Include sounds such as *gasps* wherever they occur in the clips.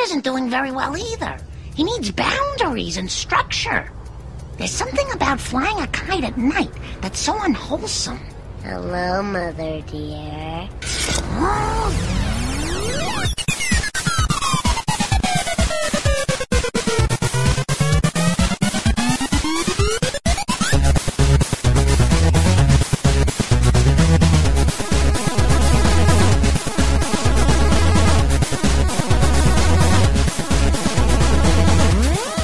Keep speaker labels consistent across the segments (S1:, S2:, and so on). S1: isn't doing very well either. He needs boundaries and structure. There's something about flying a kite at night that's so unwholesome.
S2: Hello, Mother dear.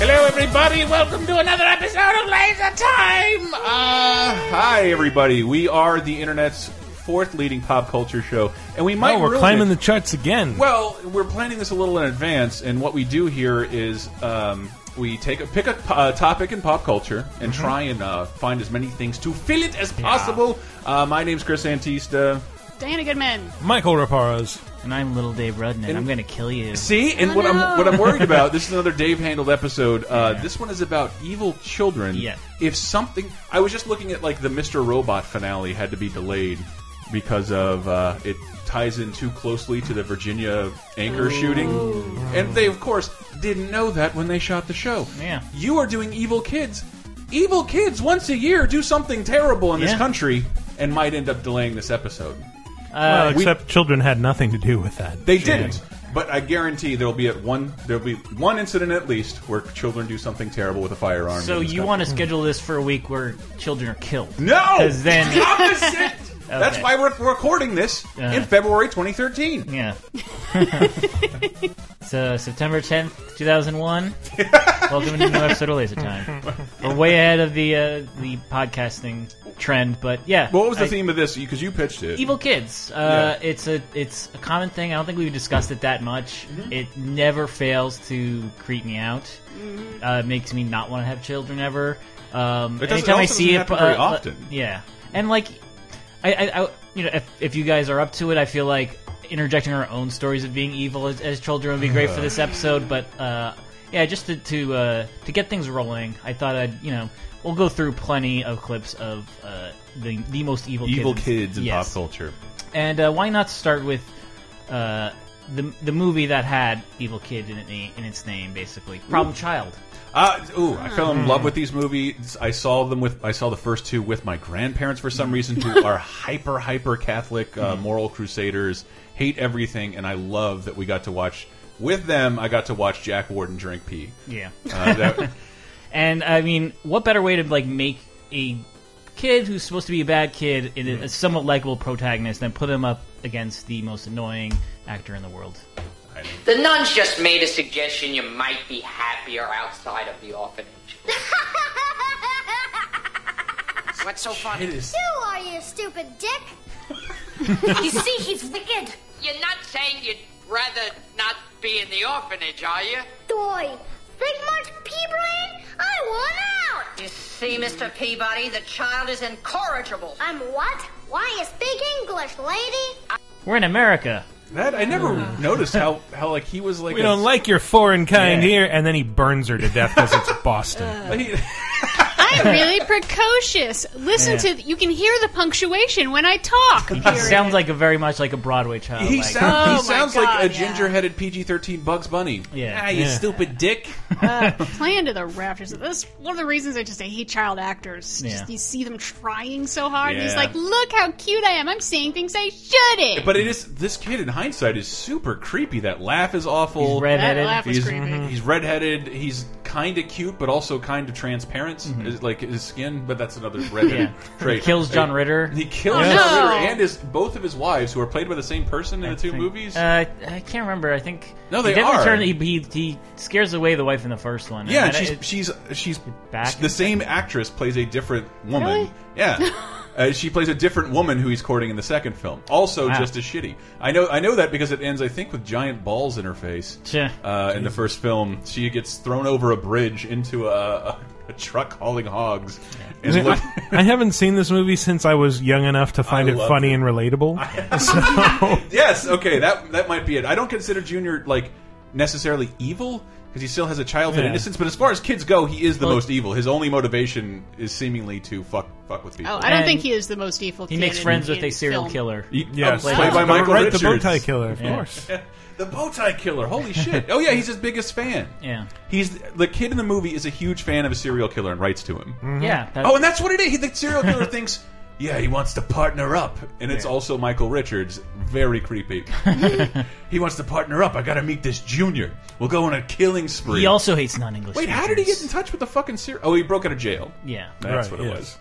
S3: Hello, everybody. Welcome to another episode of Laser Time. Uh,
S4: Hi, everybody. We are the internet's fourth leading pop culture show, and we might.
S5: Oh, we're
S4: ruin
S5: climbing
S4: it.
S5: the charts again.
S4: Well, we're planning this a little in advance, and what we do here is um, we take a pick a uh, topic in pop culture and
S5: Mm-hmm.
S4: try and uh, find as many things to fill it as possible. Uh, my name's Chris Antista.
S6: Diana Goodman.
S5: Michael Raparo's.
S7: And I'm little Dave Rudnick. I'm gonna kill you.
S4: See, and what I'm what I'm worried about. This is
S7: *laughs*
S4: another Dave handled episode. Uh, This one is about evil children.
S7: Yeah.
S4: If something, I was just looking at like the Mr. Robot finale had to be delayed because of uh, it ties in too closely to the Virginia anchor shooting, and they of course didn't know that when they shot the show.
S7: Yeah.
S4: You are doing evil kids. Evil kids once a year do something terrible in this
S7: Yeah.
S4: country and might end up delaying this episode.
S5: well,
S4: uh, we-
S5: except children had nothing to do with that.
S4: They didn't. But I guarantee there'll be at one there'll be one incident at least where children do something terrible with a firearm.
S7: So
S4: in this
S7: you
S4: country.
S7: want to schedule this for a week where children are killed?
S4: no?
S7: *laughs* 'Cause then-
S4: The opposite. That's
S7: *laughs* Okay.
S4: why we're recording this in
S7: Uh-huh.
S4: February 2013.
S7: Yeah. *laughs* so September
S4: *laughs*
S7: 10th, 2001. Welcome to a new episode of Laser Time. We're way ahead of the uh, the podcasting trend, but yeah.
S4: What was the
S7: I-
S4: theme of this? Because you pitched it.
S7: Evil kids. Uh, It's a it's a common thing. I don't think we've discussed it that much.
S4: Mm-hmm.
S7: It never fails to creep me out. Uh, it makes me not want to have children ever. Um,
S4: It doesn't-
S7: anytime
S4: it
S7: I
S4: also
S7: see
S4: doesn't
S7: it,
S4: happen very
S7: uh, uh,
S4: often.
S7: yeah, and like, I, I, I you know, if, if you guys are up to it, I feel like interjecting our own stories of being evil as, as children would be
S4: *laughs*
S7: great for this episode. But uh, yeah, just to to, uh, to get things rolling, I thought I'd you know. We'll go through plenty of clips of uh, the the most evil
S4: Evil
S7: kids,
S4: kids in
S7: Yes.
S4: pop culture.
S7: And uh, why not start with uh, the the movie that had Evil Kid in, it, in its name, basically Problem Child.
S4: Uh, ooh, I fell in
S6: Hmm.
S4: love with these movies. I saw them with I saw the first two with my grandparents for some reason,
S6: *laughs*
S4: who are hyper hyper Catholic uh,
S6: Hmm.
S4: moral crusaders, hate everything, and I love that we got to watch with them. I got to watch Jack Warden drink pee.
S7: Yeah.
S4: Uh,
S6: *laughs*
S4: that,
S7: *laughs* And I mean, what better way to like make a kid who's supposed to be a bad kid in a, a somewhat likable protagonist than put him up against the most annoying actor in the world?
S8: The nuns just made a suggestion you might be happier outside of the orphanage. What's so funny?
S4: it is.
S2: *laughs* Who are you, stupid dick?
S6: *laughs* You see, he's wicked.
S8: You're not saying you'd rather not be in the orphanage, are you?
S2: Doy. Big Mark Peabrain? I want out!
S9: You see, Mr. Peabody, the child is incorrigible.
S2: I'm what? Why you speak English, lady?
S7: We're in America.
S4: That I never noticed how how like he was like
S5: We
S4: a-
S5: don't like your foreign kind
S7: Yeah.
S5: here, and then he burns her to death
S4: *laughs*
S5: because it's Boston.
S4: he-
S6: I'm really precocious. Listen
S7: Yeah.
S6: to, th- you can hear the punctuation when I talk.
S7: He
S6: period.
S7: sounds like a very much like a Broadway child.
S4: He
S7: like,
S4: sounds,
S6: Oh
S4: he
S6: my
S4: sounds
S6: God,
S4: like a
S6: yeah.
S4: ginger-headed PG-13 Bugs Bunny.
S7: Yeah.
S4: ah, you
S5: Yeah.
S4: stupid dick.
S6: playing to the rafters. That's one of the reasons I just I hate child actors.
S7: Yeah.
S6: Just, you see them trying so hard. And he's
S4: Yeah.
S6: like, look how cute I am. I'm saying things I shouldn't.
S4: But it is this kid in hindsight is super creepy. That laugh is awful.
S7: He's Mm-hmm.
S6: that
S7: redheaded.
S6: laugh was
S4: he's,
S6: creepy.
S4: he's redheaded. He's kind of cute, but also kind of transparent, is- like his skin. But that's another redheaded
S7: Mm-hmm. Yeah.
S4: trait.
S7: He kills John
S4: Uh,
S7: Ritter.
S4: He kills
S6: Yeah.
S4: John
S6: No.
S4: Ritter and his both of his wives, who are played by the same person in the two
S7: think-
S4: movies.
S7: Uh, I can't remember. I think
S4: No, they
S7: he did
S4: are.
S7: Return, he, he he scares away the wife in the first one.
S4: yeah, and
S7: And I-
S4: she's
S7: it-
S4: she's she's
S7: back
S4: the
S7: and-
S4: same actress plays a different woman.
S6: Really?
S4: Yeah. Uh, she plays a different woman who he's courting in the second film. Also,
S7: Wow.
S4: just as shitty. I know, I know that because it ends, I think, with giant balls in her face.
S7: Sure.
S4: Uh, in the first film, she gets thrown over a bridge into a, a, a truck hauling hogs. And
S7: *laughs*
S4: look-
S5: I haven't seen this movie since I was young enough to find
S4: I
S5: it
S4: love
S5: funny
S4: it. *laughs*
S5: and relatable. *laughs*
S4: yes, okay, that that might be it. I don't consider Junior like necessarily evil. because he still has a childhood
S5: Yeah.
S4: innocence. But as far as kids go, he is the most evil. His only motivation is seemingly to fuck fuck with people.
S6: Oh, I don't
S7: And
S6: think he is the most evil.
S7: He makes friends with a serial killer.
S4: He-
S5: Yes.
S4: oh, played by
S5: Oh,
S4: Michael
S5: right,
S4: Richards,
S5: the bow tie killer, of course.
S4: The bow tie killer. Holy shit! Oh yeah, he's his biggest fan.
S7: Yeah.
S4: He's the kid in the movie is a huge fan of a serial killer and writes to him.
S7: Yeah. That,
S4: Oh, and that's what it is. He, the serial killer *laughs* thinks, yeah, he wants to partner up, and it's also Michael Richards. Very
S7: *laughs*
S4: creepy. he wants to partner up. I got to meet this junior. We'll go on a killing spree.
S7: he also hates non-English.
S4: Wait, how did he get in
S7: speakers.
S4: touch with the fucking serial? Oh, he broke out of jail.
S7: Yeah.
S4: That's
S5: Right,
S4: what it
S5: yes.
S4: was.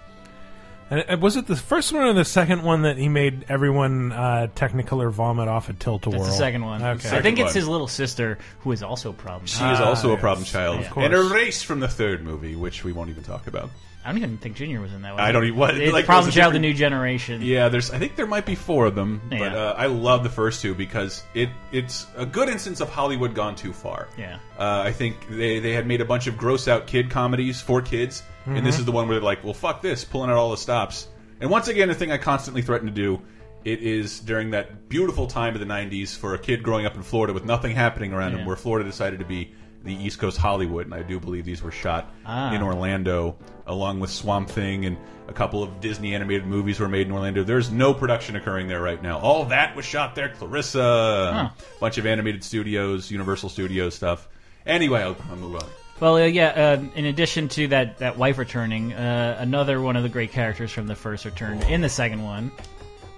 S5: And uh, was it the first one or the second one that he made everyone uh, Technicolor vomit off a tilt a whirl?
S7: That's the second one.
S5: Okay.
S7: I think
S4: Second
S7: it's
S4: one.
S7: his little sister who is also a problem.
S4: She is also a problem child,
S5: course.
S4: and erased from the third movie, which we won't even talk about.
S7: I don't even think Junior was in that one.
S4: I don't even- what-
S7: It's
S4: like,
S7: problem
S4: was it
S7: child, the
S4: different-
S7: new generation.
S4: Yeah, there's. I think there might be four of them, but
S7: Yeah.
S4: uh, I love the first two because it it's a good instance of Hollywood gone too far.
S7: Yeah.
S4: uh, I think they they had made a bunch of gross out kid comedies for kids, and
S7: Mm-hmm.
S4: this is the one where they're like, well, fuck this, pulling out all the stops. And once again, the thing I constantly threaten to do. It is during that beautiful time of the '90s for a kid growing up in Florida with nothing happening around him,
S7: Yeah.
S4: where Florida decided to be the East Coast Hollywood, and I do believe these were shot
S7: Ah.
S4: in Orlando, along with Swamp Thing and a couple of Disney animated movies were made in Orlando. There's no production occurring there right now. All that was shot there. Clarissa, a bunch of animated studios, Universal Studios stuff. Anyway, I'll, I'll move on.
S7: Well, uh, yeah. Um, in addition to that, that wife returning, uh, another one of the great characters from the first returned in the
S4: *laughs*
S7: second one.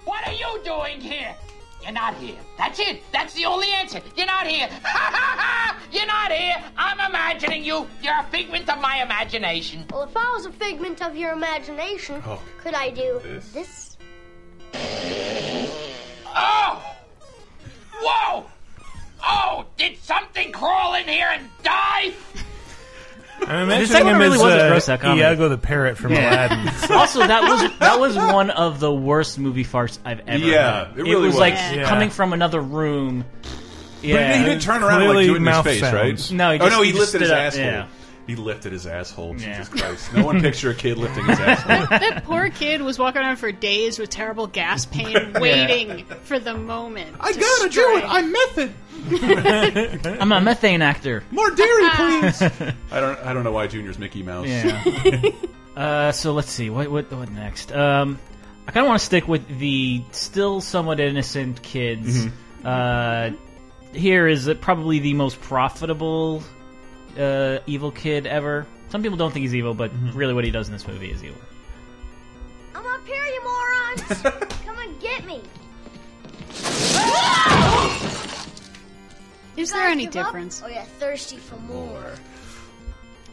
S8: What are you doing here? You're not here. That's it. That's the only answer. You're not here. *laughs* You're not here. I'm imagining you. You're a figment of my imagination.
S2: Well, if I was a figment of your imagination,
S4: Oh.
S2: could I do
S4: This.
S2: this?
S8: Oh! Whoa! Oh, did something crawl in here and die?
S5: I'm
S7: The
S5: imagining
S7: second one
S5: him
S7: really
S5: as
S7: wasn't
S5: uh,
S7: gross out comedy.
S5: Iago the parrot from
S7: *laughs*
S5: Aladdin.
S7: also, that was that was one of the worst movie farts I've ever.
S4: Yeah,
S7: heard.
S4: it really
S7: was,
S4: was.
S7: like
S6: Yeah.
S7: coming from another room.
S4: But
S7: Yeah,
S4: he did turn around and like,
S5: Clearly
S4: do it in his
S5: mouth
S4: face,
S5: sounds.
S4: right?
S7: No, he
S4: oh
S7: just-
S4: no, he,
S7: he just
S4: lifted his
S7: stood up,
S4: asshole.
S7: yeah.
S4: He lifted his asshole.
S7: Yeah.
S4: Jesus Christ! No one picture a kid lifting
S7: *laughs*
S4: his asshole.
S6: That poor kid was walking around for days with terrible
S7: *laughs*
S6: gas pain, waiting for the moment.
S4: I
S6: to
S4: gotta do
S6: strike.
S4: it. I'm method.
S7: I'm a methane actor.
S4: More dairy, please. I don't. I don't know why Junior's Mickey Mouse.
S7: Yeah. *laughs* uh, so let's see. What what what next? Um, I kind of want to stick with the still somewhat innocent kids.
S4: Mm-hmm.
S7: Uh, here is uh, probably the most profitable uh, evil kid ever. Some people don't think he's evil, but
S4: Mm-hmm.
S7: really, what he does in this movie is evil.
S2: I'm up here,
S4: *laughs*
S2: you morons! Come and get me!
S6: Is there any
S2: Give up?
S6: difference?
S2: Oh yeah, thirsty for more.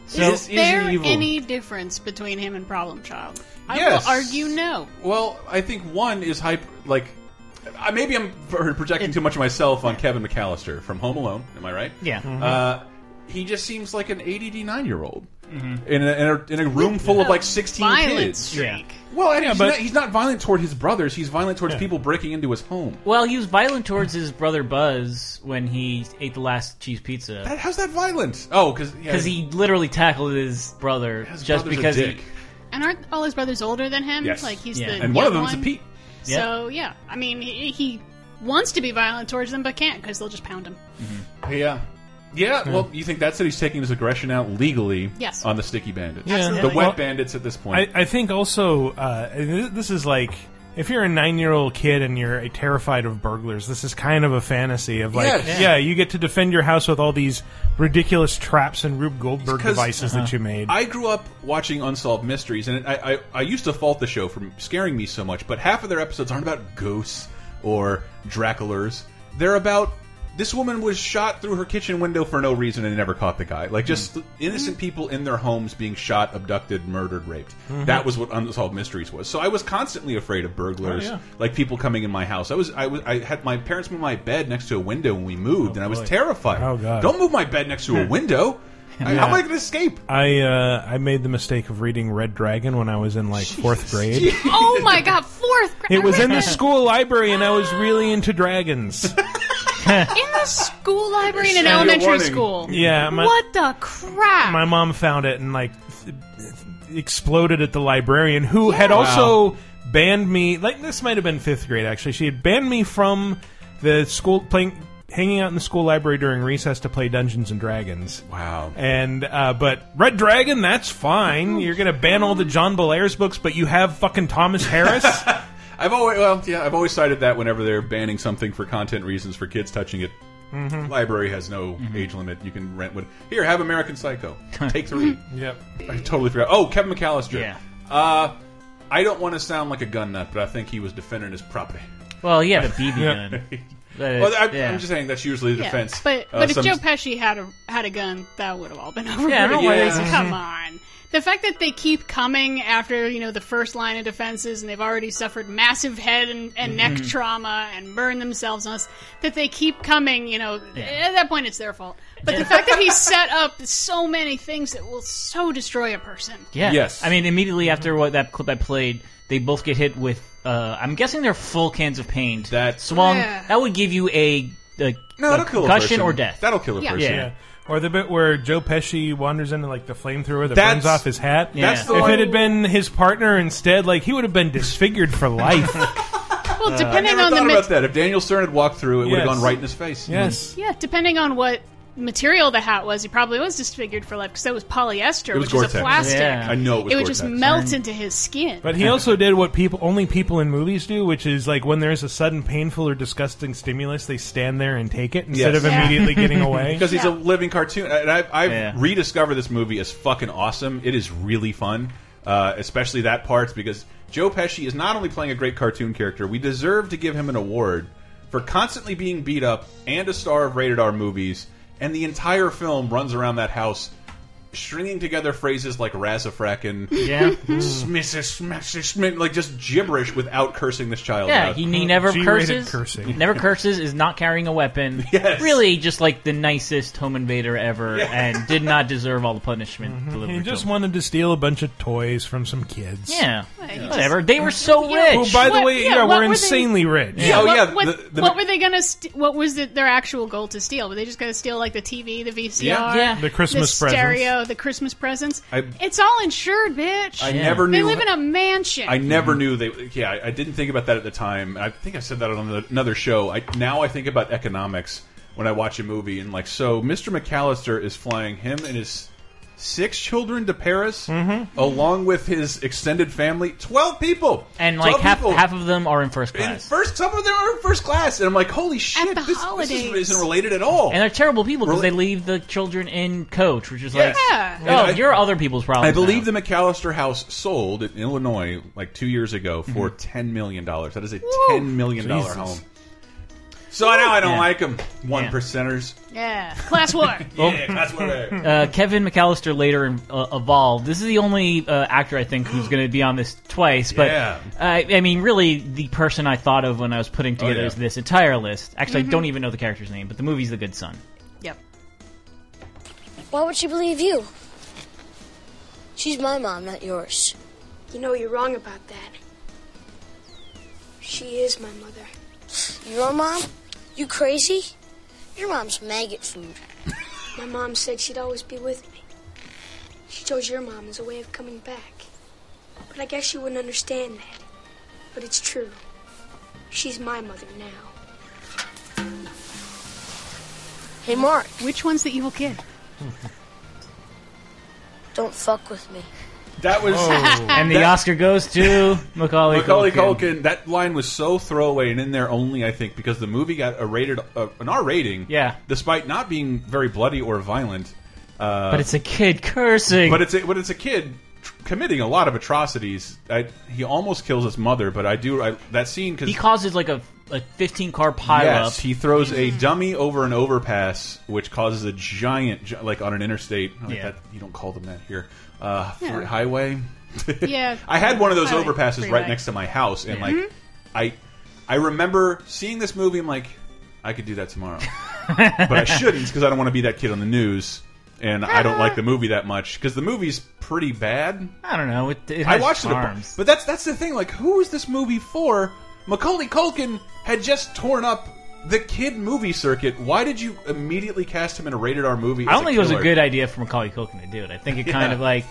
S7: So
S6: is there any difference between him and Problem Child? I
S4: Yes.
S6: will argue no.
S4: Well, I think one is hype. Like, I, maybe I'm pro- projecting too much of myself on Kevin McAllister from Home Alone. Am I right?
S7: yeah.
S4: Uh, he just seems like an ADD nine-year-old
S7: Mm-hmm.
S4: in, a, in a in a room full of like sixteen
S6: Violent
S4: kids.
S6: streak.
S4: Well, I mean, he's,
S5: but-
S4: not, he's not violent toward his brothers. He's violent towards people breaking into his home.
S7: Well, he was violent towards his brother Buzz when he ate the last cheese pizza
S4: That- How's that violent? Oh, because
S7: because he literally tackled his brother
S4: His
S7: just
S4: brother's a
S7: because he.
S4: dick.
S6: And aren't all his brothers older than him?
S4: Yes.
S6: Like he's
S7: Yeah.
S6: the
S4: and one of
S6: young
S4: them's a Pete.
S6: So yeah, I mean he, he wants to be violent towards them but can't because they'll just
S4: *laughs*
S6: pound him.
S4: Yeah. Yeah, well, you think that's it? He's taking his aggression out legally
S6: Yes.
S4: on the sticky bandits. The
S6: Absolutely.
S4: wet bandits at this point.
S5: I, I think also uh, th- this is like if you're a nine year old kid and you're uh, terrified of burglars, this is kind of a fantasy of like,
S4: Yes.
S5: yeah, you get to defend your house with all these ridiculous traps and Rube Goldberg
S4: 'cause- uh-huh.
S5: devices that you made.
S4: I grew up watching Unsolved Mysteries, and I, I, I used to fault the show for scaring me so much, but half of their episodes aren't about ghosts or Draculars. They're about this woman was shot through her kitchen window for no reason and never caught the guy. Like, just
S5: Hmm.
S4: innocent people in their homes being shot, abducted, murdered, raped.
S5: Mm-hmm.
S4: That was what Unsolved Mysteries was. So I was constantly afraid of burglars,
S5: Oh, yeah.
S4: like people coming in my house. I was, I was, I had my parents move my bed next to a window when we moved, and I was terrified.
S5: Oh, God.
S4: Don't move my bed next
S5: *laughs*
S4: to a window. I- How am I going to escape?
S5: I uh, I made the mistake of reading Red Dragon when I was in like fourth grade.
S6: oh my god, fourth grade.
S5: It was in the school library, and I was really
S4: *laughs*
S5: into dragons.
S6: in the school library in an
S4: Send your
S6: elementary
S4: warning.
S6: school.
S5: Yeah, my
S6: what the crap?
S5: my mom found it and like th- th- exploded at the librarian who had also banned me. Like this might have been fifth grade actually. She had banned me from the school playing hanging out in the school library during recess to play Dungeons and Dragons.
S4: Wow.
S5: And uh, but Red Dragon, that's fine. You're gonna ban all the John Belair's books, but you have fucking Thomas Harris.
S4: I've always well, yeah, I've always cited that whenever they're banning something for content reasons for kids touching it.
S5: Mm-hmm.
S4: Library has no
S7: Mm-hmm.
S4: age limit. You can rent one. Here, have American
S7: *laughs*
S4: Psycho. Take three.
S5: yep.
S4: I totally forgot. Oh, Kevin McAllister.
S7: Yeah.
S4: Uh, I don't want to sound like a gun nut, but I think he was defending his property.
S7: Well, he
S4: *laughs*
S7: had a BB gun. That is-
S4: Well, I,
S7: Uh, yeah.
S4: I'm just saying that's usually the
S6: Yeah,
S4: defense.
S6: But
S4: Uh,
S6: but if
S4: some-
S6: Joe Pesci had a had a gun, that would have all been *laughs* over.
S7: Yeah, I don't know why
S4: Yeah.
S7: they-
S6: Come on. The fact that they keep coming after, you know, the first line of defenses and they've already suffered massive head and, and neck
S4: Mm-hmm.
S6: trauma and burned themselves on us, that they keep coming, you know, at that point it's their fault. But the
S4: *laughs*
S6: fact that he set up so many things that will so destroy a person.
S7: Yeah.
S4: Yes.
S7: I mean, immediately after what that clip I played, they both get hit with. Uh, I'm guessing they're full cans of paint.
S4: That-
S7: swung.
S6: Yeah.
S7: That would give you a, a,
S4: no,
S7: a
S4: that'll kill a
S7: concussion
S4: person.
S7: or death.
S4: That'll kill a
S6: Yeah.
S4: person.
S7: yeah.
S5: Yeah. Or the bit where Joe Pesci wanders into like the flamethrower that
S4: That's-
S5: burns off his hat.
S4: That's
S7: Yeah.
S4: the
S5: If
S4: one.
S5: it had been his partner instead, like he would have been disfigured
S4: *laughs*
S5: for life.
S6: Well, depending
S4: I
S6: on
S4: thought
S6: the
S4: about
S6: ma-
S4: that. If Daniel Stern had walked through, it would have
S5: Yes.
S4: gone right in his face.
S5: yes.
S6: Yeah, depending on what material the hat was, he probably was disfigured for life because that was polyester,
S4: was
S6: which is a
S4: Gore-Tex.
S6: plastic.
S7: Yeah.
S4: I know it was.
S6: It would just
S4: Gore-Tex.
S6: melt into his skin.
S5: But he also did what people only people in movies do, which is like when there's a sudden painful or disgusting stimulus, they stand there and take it instead
S4: Yes.
S5: of
S6: Yeah.
S5: immediately
S4: *laughs*
S5: getting away.
S4: because he's a living cartoon. And I've, I've
S7: Yeah.
S4: rediscovered this movie as fucking awesome. It is really fun, uh, especially that part because Joe Pesci is not only playing a great cartoon character. We deserve to give him an award for constantly being beat up and a star of rated R movies. And the entire film runs around that house, stringing together phrases like "razafrackin," *laughs*
S7: yeah.
S4: "smisses," "smashes," "smin," like just gibberish without cursing this child.
S7: Yeah,
S4: out.
S7: he, he never
S5: G-rated
S7: curses.
S5: cursing.
S7: Never curses is not carrying a weapon.
S4: *laughs* Yes.
S7: Really, just like the nicest home invader ever, and did not deserve all the punishment delivered
S5: Mm-hmm. He
S7: to
S5: just
S7: him.
S5: wanted to steal a bunch of toys from some kids.
S7: Yeah, whatever. They were so
S6: Yeah.
S7: rich.
S5: Who, by the
S6: What-
S5: way,
S6: yeah,
S5: yeah,
S6: what
S5: we're
S6: were they-
S5: insanely rich.
S4: Yeah, oh
S6: what,
S4: yeah.
S6: what,
S4: the- the-
S6: what were they gonna? St- what was the, their actual goal to steal? Were they just gonna steal like the TV, the VCR,
S4: Yeah.
S7: Yeah.
S5: The Christmas
S6: the
S5: presents.
S6: stereo, the Christmas presents?
S4: I-
S6: it's all insured, bitch.
S4: I
S7: Yeah.
S4: never
S6: they
S4: knew.
S6: live in a mansion.
S4: I never
S7: Mm-hmm.
S4: knew they. Yeah, I- I didn't think about that at the time. I think I said that on the- another show. I now I think about economics when I watch a movie and like so. Mr. McAllister is flying him and his six children to Paris,
S7: Mm-hmm.
S4: along with his extended family, twelve people,
S7: and like
S4: 12
S7: half
S4: people.
S7: half of them are in first
S4: In
S7: class,
S4: first, some of them are in first class, and I'm like, holy shit,
S6: the
S4: this, this
S6: holidays.
S4: is, isn't related at all.
S7: and they're terrible people because
S4: Really?
S7: they leave the children in coach, which is like,
S6: Yeah.
S7: oh,
S4: And I-
S7: you're other people's problem.
S4: I believe the McAllister house sold in Illinois like two years ago for $10 million. That is a $10 million dollar
S5: Jesus.
S4: home. So now I don't
S7: Yeah.
S4: like them. One
S7: Yeah.
S4: percenters.
S6: yeah, class war.
S4: *laughs* yeah, that's what I-
S7: Uh, Kevin McAllister later uh, evolved. This is the only uh, actor I think
S4: *gasps*
S7: who's going to be on this twice. But
S4: Yeah. Oh,
S7: I, I mean, really, the person I thought of when I was putting together
S4: yeah.
S7: is this entire list. Actually, I don't even know the character's name, but the movie's The Good Son.
S6: yep.
S10: Why would she believe you? She's my mom, not yours.
S2: You know you're wrong about that. She is my mother.
S10: Your mom? You crazy? Your mom's maggot food.
S2: My mom said she'd always be with me. She chose your mom as a way of coming back. But I guess she wouldn't understand that. But it's true. She's my mother now.
S10: Hey, Mark,
S6: Which one's the evil kid?
S10: don't fuck with me.
S4: *laughs* That was
S7: And the Oscar goes to
S4: *laughs*
S7: Macaulay,
S4: Macaulay
S7: Culkin.
S4: Culkin. That line was so throwaway and in there only, I think, because the movie got a rated uh, an R rating.
S7: Yeah.
S4: despite not being very bloody or violent. Uh,
S7: But it's a kid cursing.
S4: But it's a, but it's a kid tr- committing a lot of atrocities. I, he almost kills his mother, but I do I, that scene because
S7: he causes like a, a 15 car pileup.
S4: yes, he throws a dummy over an overpass, which causes a giant gi- like on an interstate. Like
S7: Yeah.
S4: that, you don't call them that here. Uh, for- highway. *laughs*
S6: Yeah.
S4: I had one of those
S6: Highway, Mm-hmm.
S4: overpasses
S6: freeway.
S4: right next to my house, and like I I remember seeing this movie. I'm like, I could do that tomorrow, but I shouldn't because I don't want to be that kid on the news. And I don't like the movie that much because the movie's pretty bad.
S7: I don't know. It, it
S4: I
S7: has
S4: watched
S7: charms.
S4: it, but that's that's the thing. Like, who is this movie for? Macaulay Culkin had just torn up the kid movie circuit. Why did you immediately cast him in a rated R movie?
S7: I don't think it was a good idea for Macaulay Culkin to do it. I think it
S4: *laughs*
S7: kind
S4: Yeah.
S7: of like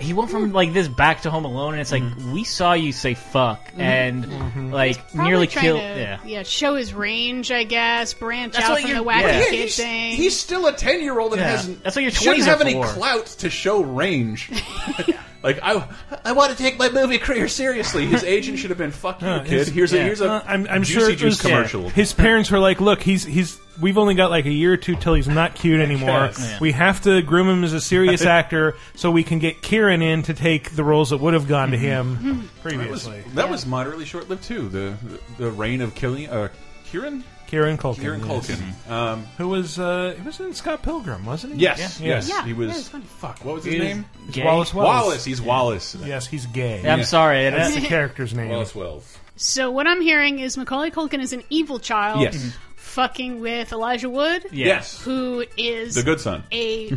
S7: he went from like this back to Home Alone, and it's like
S4: Mm-hmm.
S7: we saw you say fuck and like
S6: Mm-hmm. Probably
S7: nearly
S6: trying
S7: kill.
S6: to,
S7: yeah.
S6: show his range, I guess. Branch
S7: That's
S6: out
S7: what
S6: from
S7: you're-
S6: the wacky
S7: yeah.
S6: kid
S4: he's,
S6: thing.
S4: he's still a ten year old and
S7: Yeah.
S4: hasn't.
S7: That's what your
S4: shouldn't
S7: 20s
S4: have
S7: are
S4: any
S7: for.
S4: clout to show
S6: *laughs*
S4: range. *laughs* like I, I want to take my movie career seriously. His agent should have been fuck you,
S5: Uh,
S4: kid.
S5: his-
S4: here's a
S7: yeah.
S4: here's a
S5: Uh, I'm, I'm
S4: juicy
S5: sure it
S4: juice
S5: was-
S4: commercial.
S5: His parents were like, "Look, he's he's we've only got like a year or two till he's not cute
S4: *laughs*
S5: anymore.
S4: guess.
S5: We have to groom him as
S4: *laughs*
S5: a serious actor so we can get Kieran in to take the roles that would have gone to him previously."
S4: Mm-hmm. That was moderately short lived too. The the reign of Killian, uh, Kieran,
S5: Kieran Culkin,
S4: Kieran
S5: yes.
S4: Culkin. Um,
S5: who was uh, he was in Scott Pilgrim, wasn't he?
S4: yes,
S5: Yeah.
S4: yes,
S5: Yeah.
S4: he
S6: Yeah,
S4: was.
S6: it's funny.
S4: fuck, what was his
S7: He was
S4: name?
S5: It's
S7: gay.
S5: Wallace Wells.
S4: Wallace. He's Wallace.
S5: Yes, he's gay.
S7: I'm sorry.
S4: *laughs*
S7: I-
S5: That's the character's name.
S4: Wallace Wells.
S6: so what I'm hearing is Macaulay Culkin is an evil child,
S4: Yes. Mhm.
S6: fucking with Elijah Wood,
S7: yeah.
S4: Yes,
S6: who is
S4: the good son.
S6: a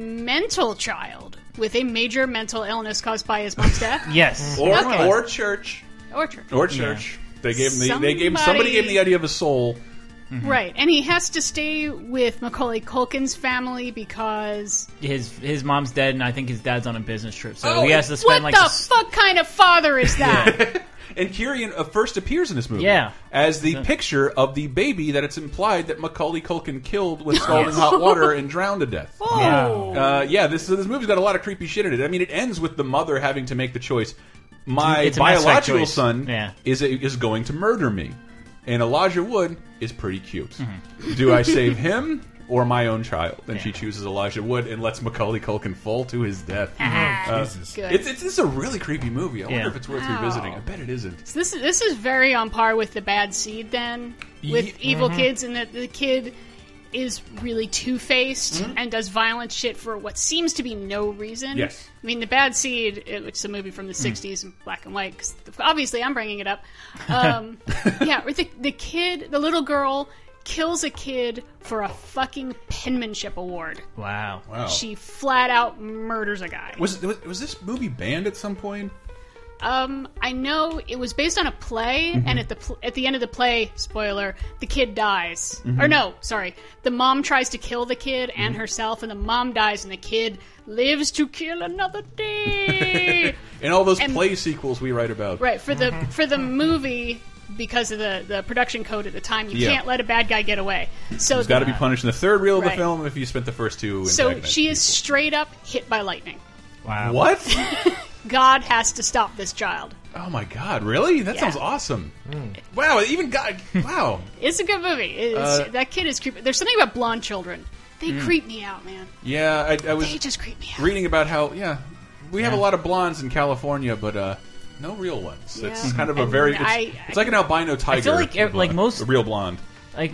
S6: mental child with a major mental illness caused by his mom's
S7: *laughs*
S6: death
S7: Yes.
S4: Or
S6: Okay.
S4: or church
S6: or church.
S4: or church. They gave him the, they gave somebody
S6: Somebody-
S4: gave him the idea of a soul.
S6: Right, and he has to stay with Macaulay Culkin's family because
S7: His his mom's dead, and I think his dad's on a business trip, so
S4: Oh,
S7: he has to
S6: what
S7: spend like
S6: the
S7: this-
S6: fuck kind of father
S7: *laughs*
S6: is that?
S4: And Kieran uh, first appears in this movie
S7: Yeah.
S4: as the picture of the baby that it's implied that Macaulay Culkin killed with scalding hot water and drowned to death.
S5: Yeah.
S4: Uh, yeah, this this movie's got a lot of creepy shit in it. I mean, it ends with the mother having to make the choice. My
S7: It's a mass effect
S4: biological
S7: choice.
S4: son
S7: Yeah.
S4: is is going to murder me, and Elijah Wood is pretty cute.
S7: Mm-hmm.
S4: Do I save him or my own child? And she chooses Elijah Wood and lets Macaulay Culkin fall to his death. Uh,
S6: Good.
S4: it's, it's, this is a really creepy movie. I
S7: Ah. Yeah.
S4: wonder if it's worth revisiting. I bet it isn't.
S6: This is this is very on par with the bad seed then with
S4: Ye- mm-hmm.
S6: evil kids and that the kid is really two faced
S4: Mm-hmm.
S6: and does violent shit for what seems to be no reason.
S4: Yes. Mm.
S6: I mean the bad seed, it- which is a movie from the '60s in black and white. 'cause obviously, I'm bringing it up.
S4: *laughs*
S6: Um, yeah, where the, the kid, the little girl, kills a kid for a fucking penmanship award.
S7: Wow.
S4: Wow.
S6: She flat out murders a guy.
S4: was, was was this movie banned at some point?
S6: Um, I know it was based on a play,
S4: Mm-hmm.
S6: and at the pl- at the end of the play, spoiler, the kid dies.
S4: Mm-hmm.
S6: Or no, sorry, the mom tries to kill the kid and herself, and the mom dies, and the kid lives to kill another
S4: *laughs*
S6: day.
S4: In all those
S6: Eh. And-
S4: play sequels we write about,
S6: right for the
S4: Mm-hmm.
S6: for the movie because of the the production code at the time, you
S4: Yeah.
S6: can't let a bad guy get away. So
S4: He's got to be punished in the third reel of the
S6: Right.
S4: film if you spent the first two.
S6: so
S4: antagonizing
S6: she is
S4: people.
S6: straight up hit by lightning.
S5: Wow.
S4: What?
S6: God has to stop this child.
S4: Oh my god, really? That
S6: Yeah.
S4: sounds awesome.
S7: Hmm.
S4: Wow, even God wow.
S6: It's a good movie. It is,
S4: Uh,
S6: that kid is creepy. There's something about blonde children. They
S7: Hmm.
S6: creep me out, man.
S4: Yeah, I, I
S6: They
S4: was
S6: just creep me out.
S4: reading about how yeah, we have a lot of blondes in California, but uh no real ones. It's
S6: Yeah.
S4: kind of a
S6: And
S4: very it's,
S6: I-
S4: it's like an albino tiger.
S7: feel like ev- like
S4: blonde,
S7: most-
S4: a real blonde.
S7: like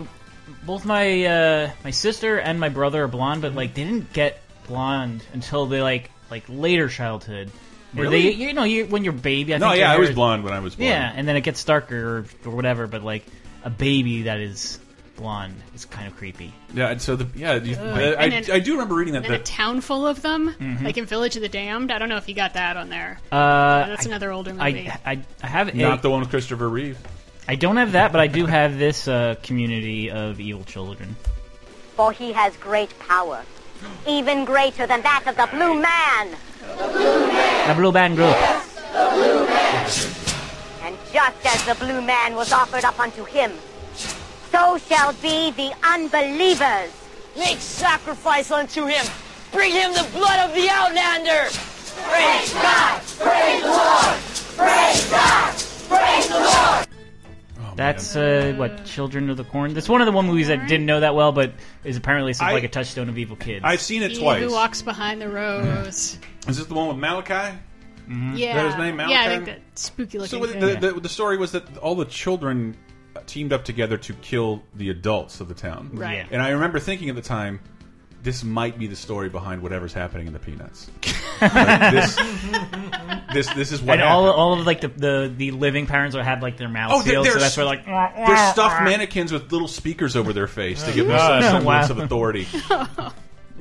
S7: both my uh, my sister and my brother are blonde, but like they didn't get blonde until they like like later childhood.
S4: Really?
S7: They- you know, you, when you're a baby. I
S4: No,
S7: think your
S4: yeah, I
S7: hair
S4: was
S7: is-
S4: blonde when I was blonde.
S7: Yeah, and then it gets darker or, or whatever. But like a baby that is blonde is kind of creepy.
S4: Yeah, and so the yeah, you, the- I,
S6: And then-
S4: I do remember reading that
S6: And then a
S4: that
S6: town full of them, like in Village of the Damned. I don't know if you got that on there.
S7: Mm-hmm. Uh,
S6: That's another older movie.
S7: I, I I have
S4: not
S7: a,
S4: the one with Christopher Reeve.
S7: I don't have that, but I do have this uh, community of evil children.
S9: For he has great power, even greater than that of the Blue Man.
S7: The blue band group.
S9: And just as the Blue Man was offered up unto him, so shall be the unbelievers.
S11: Make sacrifice unto him. Bring him the blood of the outlander. Praise God! Praise the Lord! Praise God! Praise the Lord!
S4: Oh,
S7: That's uh, what Children of the Corn. That's one of the one movies that didn't know that well, but is apparently some,
S4: I-
S7: like a touchstone of evil kids.
S4: I've seen it
S6: He
S4: twice.
S6: who walks behind
S7: Hmm.
S6: the rose.
S4: Is this the one with Malachi?
S7: Hmm.
S6: Yeah,
S4: That his name,
S6: yeah, I
S4: Malachi?
S6: think that spooky looking
S4: So what
S6: thing.
S4: the, the, the story was that all the children teamed up together to kill the adults of the town.
S6: Right.
S4: And I remember thinking at the time, this might be the story behind whatever's happening in the
S7: *laughs*
S4: Peanuts. Like, this, this, this is what
S7: and all,
S4: happened.
S7: all of like the, the the living parents would have like their mouths
S4: Oh, they're-
S7: sealed, so
S4: they're
S7: that's where like
S4: They're stuffed mannequins with little speakers over their face to give
S7: *laughs*
S4: them some
S5: God.
S4: semblance
S7: Wow.
S4: of authority.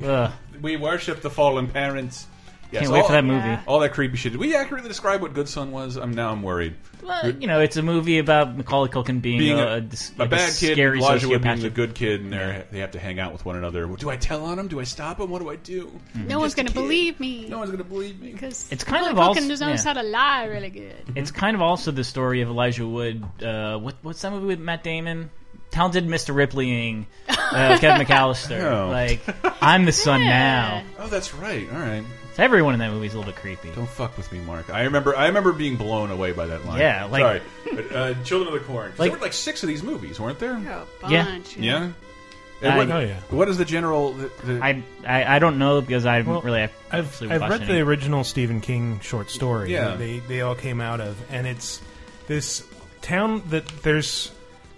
S7: ugh.
S4: We worship the fallen parents.
S7: Can't wait for that movie.
S4: All that creepy shit. Did we accurately describe what Good Son was? I'm now I'm worried.
S7: Well, you know, it's a movie about Macaulay Culkin being,
S4: being
S7: a,
S4: a,
S7: dis-
S4: a
S7: like
S4: bad kid,
S7: scary
S4: Lajua
S7: sociopath.
S4: being a good kid, and they're they have to hang out with one another. Well, do I tell on him? Do I stop him? What do I do?
S7: Hmm.
S6: No one's going to believe me. No
S4: one's going to believe me.
S6: Because
S7: It's kind of
S6: Culkin
S7: als-
S6: just knows
S7: yeah.
S6: how to lie really good.
S7: It's kind of also the story of Elijah Wood. Uh, what, what's that movie with Matt Damon? Talented Mr. Ripleying uh, Kevin McAllister.
S4: Oh.
S7: Like, I'm the son now.
S4: Oh, that's right. All right.
S7: So everyone in that movie is a little bit creepy.
S4: Don't fuck with me, Mark. I remember. I remember being blown away by that line.
S7: Yeah, like-
S4: sorry. But, uh, Children of the Corn. 'Cause
S7: Like-
S4: there were like six of these movies, weren't there?
S7: Yeah.
S6: Oh, bunch,
S4: Yeah. And
S7: I-
S4: what,
S7: Oh, yeah.
S4: What is the general? The, the,
S7: I, I I don't know because I haven't
S5: Well,
S7: really
S5: I've,
S7: actually
S5: I've
S7: watched
S5: read
S7: any.
S5: the original Stephen King short story
S7: Yeah.
S5: that they, they all came out of, and it's this town that there's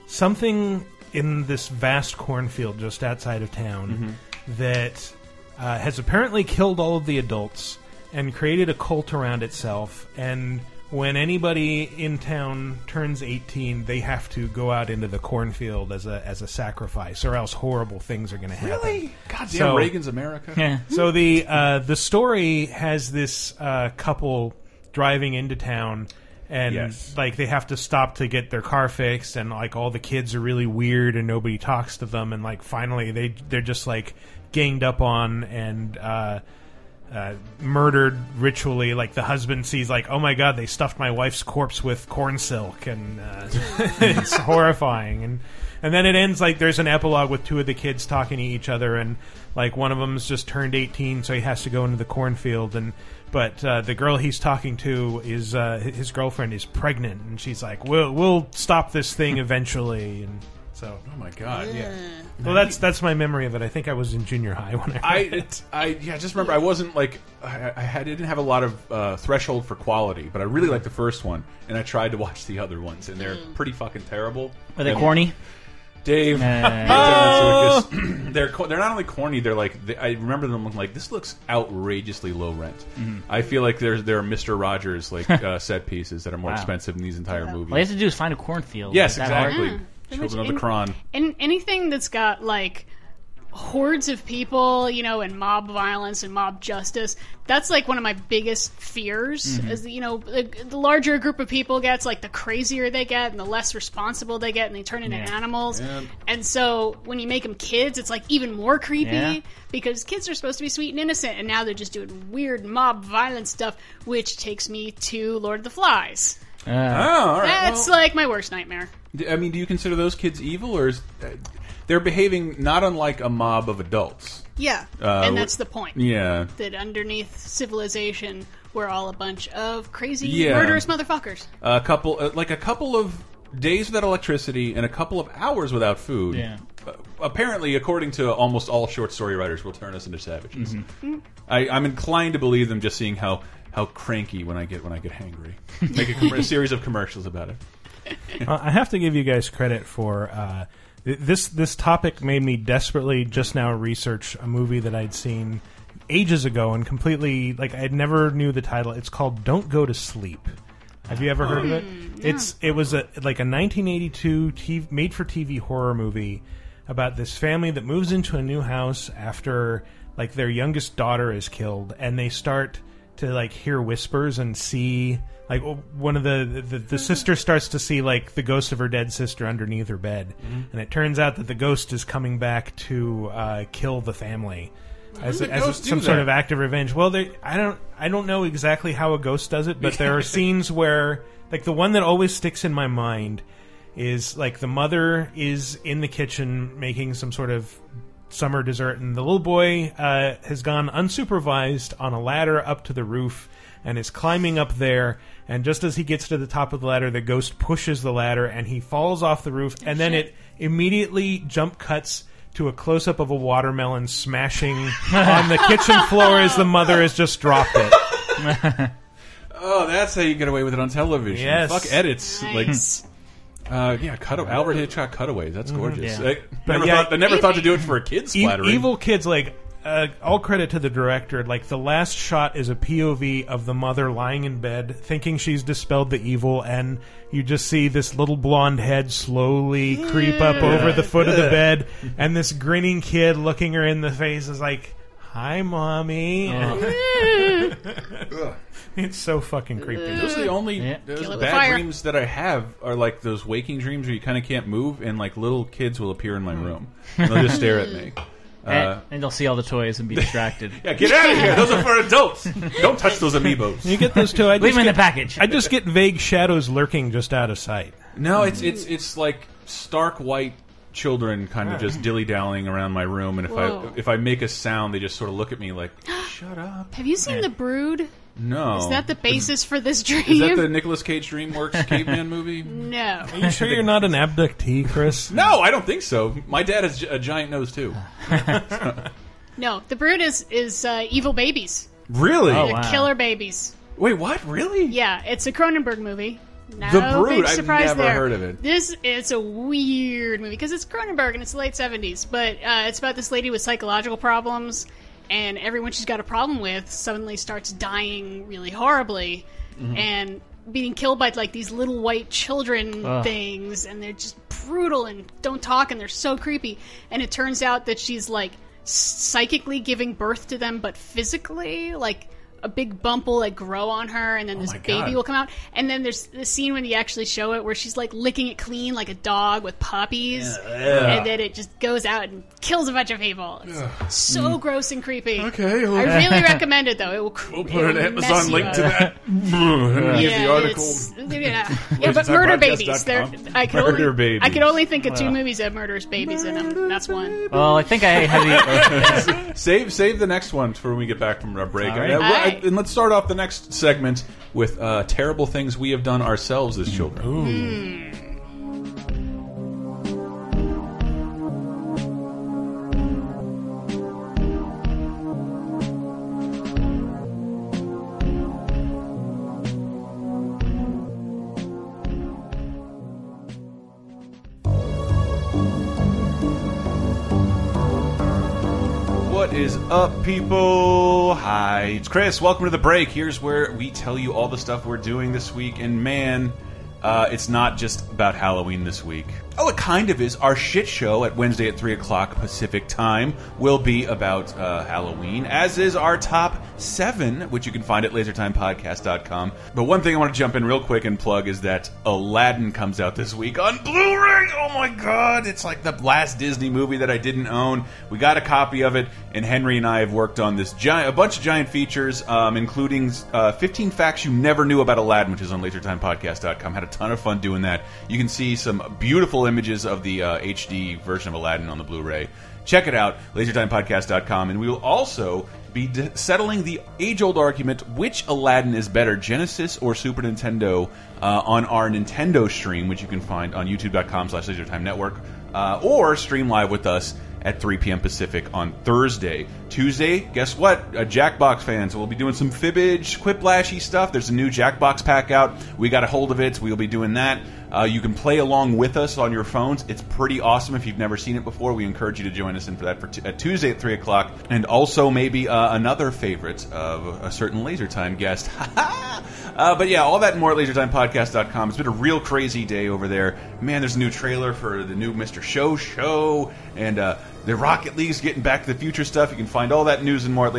S5: something in this vast cornfield just outside of town
S4: Mm-hmm.
S5: that uh, has apparently killed all of the adults and created a cult around itself. And when anybody in town turns 18, they have to go out into the cornfield as a, as a sacrifice, or else horrible things are going to happen.
S4: Really? Goddamn
S5: So-
S4: Reagan's
S7: *laughs*
S4: America.
S5: so the uh, the story has this uh, couple driving into town, and
S4: Yes.
S5: like they have to stop to get their car fixed, and like all the kids are really weird, and nobody talks to them, and like finally they they're just like ganged up on and. Uh, uh, murdered ritually, like the husband sees, like, oh my god, they stuffed my wife's corpse with corn silk, and uh, *laughs* it's horrifying. And and then it ends like there's an epilogue with two of the kids talking to each other, and like one of them's just turned 18, so he has to go into the cornfield. And but uh, the girl he's talking to is uh, hi- his girlfriend is pregnant, and she's like, we'll we'll stop this thing eventually. And so,
S4: oh my god, yeah.
S5: Well, that's that's my memory of it. I think I was in junior high when I.
S4: I, it- I yeah, I just remember I wasn't like I, I had- didn't have a lot of uh, threshold for quality, but I really liked the first one, and I tried to watch the other ones, and they're
S6: Mm.
S4: pretty fucking terrible.
S7: Are they
S4: And- *laughs*
S7: corny?
S4: Dave?
S7: Uh.
S4: *clears throat* they're co- they're not only corny, they're like they, I remember them looking like this looks outrageously low rent.
S7: Mhm.
S4: I feel like there's there are Mister Rogers
S7: *laughs*
S4: like uh, set pieces that are more
S7: Wow.
S4: expensive than these entire movies.
S7: All you have to do is find a cornfield.
S4: Yes,
S7: Is that hard?
S4: exactly.
S6: Pretty
S4: Children
S6: much
S4: of the Kron.
S6: And anything that's got like hordes of people, you know, and mob violence and mob justice, that's like one of my biggest fears.
S7: Mhm.
S6: Is you know, the, the larger a group of people gets, like the crazier they get, and the less responsible they get, and they turn into
S7: Yeah.
S6: animals.
S7: Yep.
S6: And so when you make them kids, it's like even more creepy
S7: Yeah.
S6: because kids are supposed to be sweet and innocent, and now they're just doing weird mob violence stuff, which takes me to Lord of the Flies.
S7: Uh,
S4: Oh, all right.
S6: That's
S4: well-
S6: like my worst nightmare.
S4: D- I mean, do you consider those kids evil, or is uh, they're behaving not unlike a mob of adults?
S6: Yeah,
S4: Uh,
S6: and that's
S4: wh-
S6: the point.
S4: yeah.
S6: that underneath civilization, we're all a bunch of crazy,
S4: Yeah.
S6: murderous motherfuckers.
S4: A couple, uh, like a couple of days without electricity and a couple of hours without food.
S7: Yeah.
S4: Uh, apparently, according to almost all short story writers, will turn us into savages.
S7: Mhm.
S6: Mm.
S4: I, I'm inclined to believe them, just seeing how how cranky when I get when I get hangry. Make a, com- a series of commercials about it.
S5: Uh, I have to give you guys credit for uh, th- this. This topic made me desperately just now research a movie that I'd seen ages ago and completely like I never knew the title. It's called "Don't Go to Sleep." Have you ever heard of it? It's it was a like a 1982 TV, made for TV horror movie about this family that moves into a new house after like their youngest daughter is killed and they start to like hear whispers and see like w- one of the the,
S4: Mm-hmm.
S5: the sister starts to see like the ghost of her dead sister underneath her bed
S4: Mm-hmm.
S5: and it turns out that the ghost is coming back to uh, kill the family as,
S4: did the
S5: as
S4: ghost do
S5: some sort
S4: that?
S5: of act of revenge well they, i don't i don't know exactly how a ghost does it but
S4: *laughs*
S5: there are scenes where like the one that always sticks in my mind is like the mother is in the kitchen making some sort of summer dessert, and the little boy uh, has gone unsupervised on a ladder up to the roof and is climbing up there. And just as he gets to the top of the ladder, the ghost pushes the ladder and he falls off the roof. And then it immediately jump cuts to a close up of a watermelon smashing on the kitchen floor as the mother has just dropped it.
S4: Oh, that's how you get away with it on television.
S5: Yes.
S4: Fuck edits.
S6: Nice.
S4: Like, uh, yeah, cut Albert Hitchcock cutaways. That's gorgeous.
S5: Mm-hmm. Yeah.
S4: I
S5: But
S4: never,
S5: yeah,
S4: thought, I never thought to do it for a kid's
S5: E-
S4: splattering.
S5: evil kids like uh, all credit to the director like the last shot is a pov of the mother lying in bed thinking she's dispelled the evil and you just see this little blonde head slowly creep up
S4: Yeah.
S5: over the foot of the
S4: Yeah.
S5: bed and this grinning kid looking her in the face is like hi, mommy.
S4: Oh.
S5: it's so fucking creepy.
S4: Those are the only
S5: Yeah.
S4: those
S5: Kill it with
S4: bad
S5: fire.
S4: dreams that I have are like those waking dreams where you kind of can't move, and like little kids will appear in
S5: Mm-hmm.
S4: my room. And they'll just stare at
S5: *laughs*
S4: me. Uh,
S7: and, and they'll see all the toys and be distracted.
S4: *laughs* yeah, get out of here. Those are for
S5: *laughs*
S4: adults. Don't touch those amiibos.
S5: You get those too. I
S7: Leave
S5: just
S7: them in
S5: get-
S7: the package.
S5: I just get vague shadows lurking just out of sight.
S4: No, it's it's it's like stark white children kind
S5: Oh.
S4: of just dilly dallying around my room, and if
S6: Whoa.
S4: I if I make a sound, they just sort of look at me like, *gasps* Shut up.
S6: Have you seen The Brood?
S4: no.
S6: Is that the basis for this dream? *laughs*
S4: Is that the Nicolas Cage
S5: *laughs*
S4: DreamWorks caveman movie?
S6: no.
S5: Are you sure you're not an abductee, Chris?
S4: No, Oh, I don't think so. My dad has a giant nose
S7: *sighs*
S4: too.
S6: No, The Brood is is uh, evil babies.
S4: Really?
S7: Oh.
S6: They're killer babies.
S4: Wait, what? Really?
S6: Yeah, it's a Cronenberg movie. No
S4: The Brood,
S6: big
S4: I've
S6: surprise
S4: never
S6: there.
S4: heard of it.
S6: This it's a weird movie because it's Cronenberg and it's the late seventies, but uh, it's about this lady with psychological problems, and everyone she's got a problem with suddenly starts dying really horribly,
S12: Mhm.
S6: and being killed by like these little white children
S12: Ugh.
S6: things, and they're just brutal and don't talk, and they're so creepy. And it turns out that she's like psychically giving birth to them, but physically, like a big bump will like grow on her, and then this
S12: Oh my
S6: baby
S12: God.
S6: will come out. And then there's the scene when you actually show it where she's like licking it clean like a dog with puppies,
S12: Yeah.
S6: and then it just goes out and kills a bunch of people. It's
S12: Ugh.
S6: so
S12: Mm.
S6: gross and creepy.
S12: Okay, well-
S6: I
S12: *laughs*
S6: really recommend it though. It will. Cr-
S12: We'll
S6: it
S12: put an
S6: will
S12: Amazon
S6: mess you
S12: link to
S6: up.
S12: that underneath
S6: *laughs* yeah,
S12: the article.
S6: it's- Yeah, yeah, but murder babies. They're, I could
S7: Murder
S6: only
S7: babies.
S6: I could only think of two
S7: Wow.
S6: movies that have murderous babies in them. That's one.
S7: Well, I think I
S4: *laughs*
S7: have the.
S4: save save the next one for when we get back from our break.
S7: All right.
S4: And, uh,
S6: All right.
S4: and let's start off the next segment with uh, terrible things we have done ourselves as children. What is up, people? Hi, it's Chris. Welcome to the break. Here's where we tell you all the stuff we're doing this week. And man, uh, it's not just about Halloween this week. Oh, it kind of is. Our shit show at Wednesday at 3 o'clock Pacific time will be about uh, Halloween, as is our top seven, which you can find at lasertimepodcast.com. But one thing I want to jump in real quick and plug is that Aladdin comes out this week on Blu-ray. Oh my god, it's like the last Disney movie that I didn't own. We got a copy of it, and Henry and I have worked on this giant, a bunch of giant features, um, including uh, 15 facts you never knew about Aladdin, which is on LaserTimePodcast.com. Had a ton of fun doing that. You can see some beautiful images of the uh, HD version of Aladdin on the Blu-ray. Check it out, LaserTimePodcast.com, and we will also be d settling the age-old argument which Aladdin is better, Genesis or Super Nintendo, uh, on our Nintendo stream, which you can find on youtube.com slash lasertime network, uh, or stream live with us at 3 p.m. Pacific on Thursday. Tuesday, guess what? Uh, Jackbox fans, we'll be doing some fibbage, quiplashy stuff. There's a new Jackbox pack out. We got a hold of it. We'll be doing that. Uh, you can play along with us on your phones. It's pretty awesome. If you've never seen it before, we encourage you to join us in for that for t uh, Tuesday at 3 o'clock. And also, maybe uh, another favorite of a certain Laser Time guest. *laughs* Uh, but yeah, all that and more at lasertimepodcast.com. It's been a real crazy day over there. Man, there's a new trailer for the new Mr. Show show, and uh, the Rocket League's getting back to the future stuff. You can find all that news and more at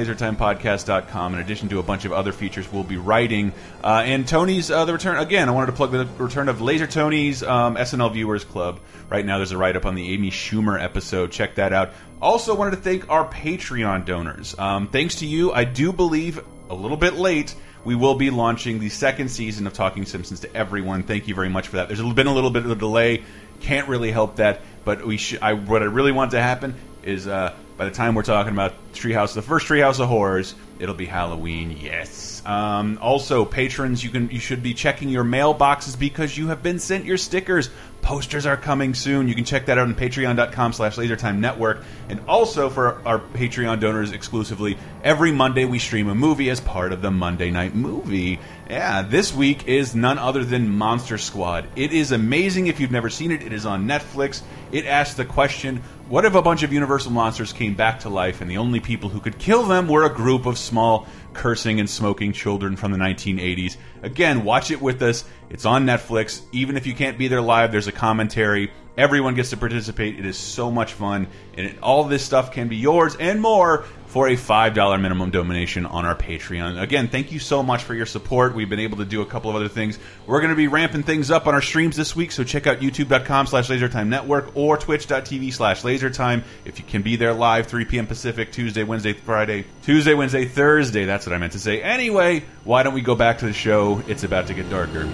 S4: lasertimepodcast.com, in addition to a bunch of other features we'll be writing. Uh, and Tony's uh, The Return, again, I wanted to plug the return of Laser Tony's um, SNL Viewers Club. Right now, there's a write up on the Amy Schumer episode. Check that out. Also, wanted to thank our Patreon donors. Um, thanks to you, I do believe a little bit late we will be launching the second season of Talking Simpsons to everyone. Thank you very much for that. There's been a little bit of a delay. Can't really help that, but we sh- I, what I really want to happen is uh, by the time we're talking about Treehouse, the first Treehouse of Horrors, it'll be Halloween. Yes. Um, also, patrons, you can you should be checking your mailboxes because you have been sent your stickers. Posters are coming soon. You can check that out on patreon.com slash lasertime network. And also for our Patreon donors exclusively, every Monday we stream a movie as part of the Monday Night Movie. Yeah, this week is none other than Monster Squad. It is amazing if you've never seen it. It is on Netflix. It asks the question what if a bunch of universal monsters came back to life and the only people who could kill them were a group of small, cursing, and smoking children from the 1980s? Again, watch it with us. It's on Netflix. Even if you can't be there live, there's a commentary. Everyone gets to participate. It is so much fun. And it- all this stuff can be yours and more for a $5 minimum donation on our Patreon. Again, thank you so much for your support. We've been able to do a couple of other things. We're going to be ramping things up on our streams this week, so check out youtube.com slash lasertime network or twitch.tv slash lasertime if you can be there live, 3 p.m. Pacific, Tuesday, Wednesday, Friday, Tuesday, Wednesday, Thursday. That's what I meant to say. Anyway, why don't we go back to the show? It's about to get darker.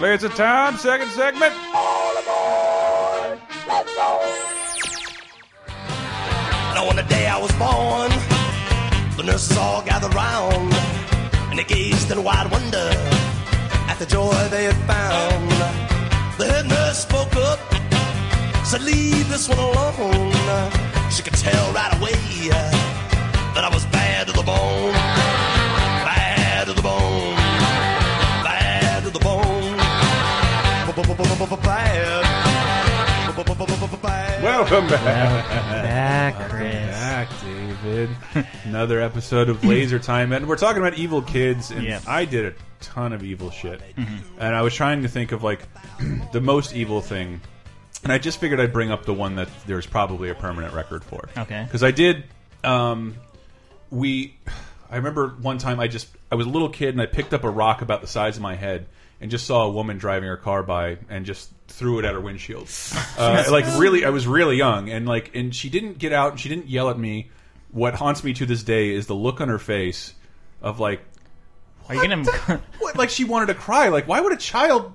S12: Laser time, second segment.
S13: Now, on the day I was born, the nurses all gathered round and they gazed in wide wonder at the joy they had found. The head nurse spoke up, said, Leave this one alone. She could tell right away that I was bad to the bone. Bad to the bone. Bad to the bone. Bad.
S4: Welcome back.
S7: back, Chris.
S4: back, David. *laughs* Another episode of Laser Time, and we're talking about evil kids. And
S7: Yeah.
S4: I did a ton of evil shit, and I was trying to think of like *clears throat* the most evil thing, and I just figured I'd bring up the one that there's probably a permanent record for.
S7: Okay.
S4: Because I did. Um, we, I remember one time I just I was a little kid and I picked up a rock about the size of my head and just saw a woman driving her car by and just threw it at her windshield. Uh, like really, I was really young and like and she didn't get out and she didn't yell at me. What haunts me to this day is the look on her face of like
S7: Are you gonna?
S4: *laughs*
S7: *laughs*
S4: what? Like she wanted to cry. Like why would a child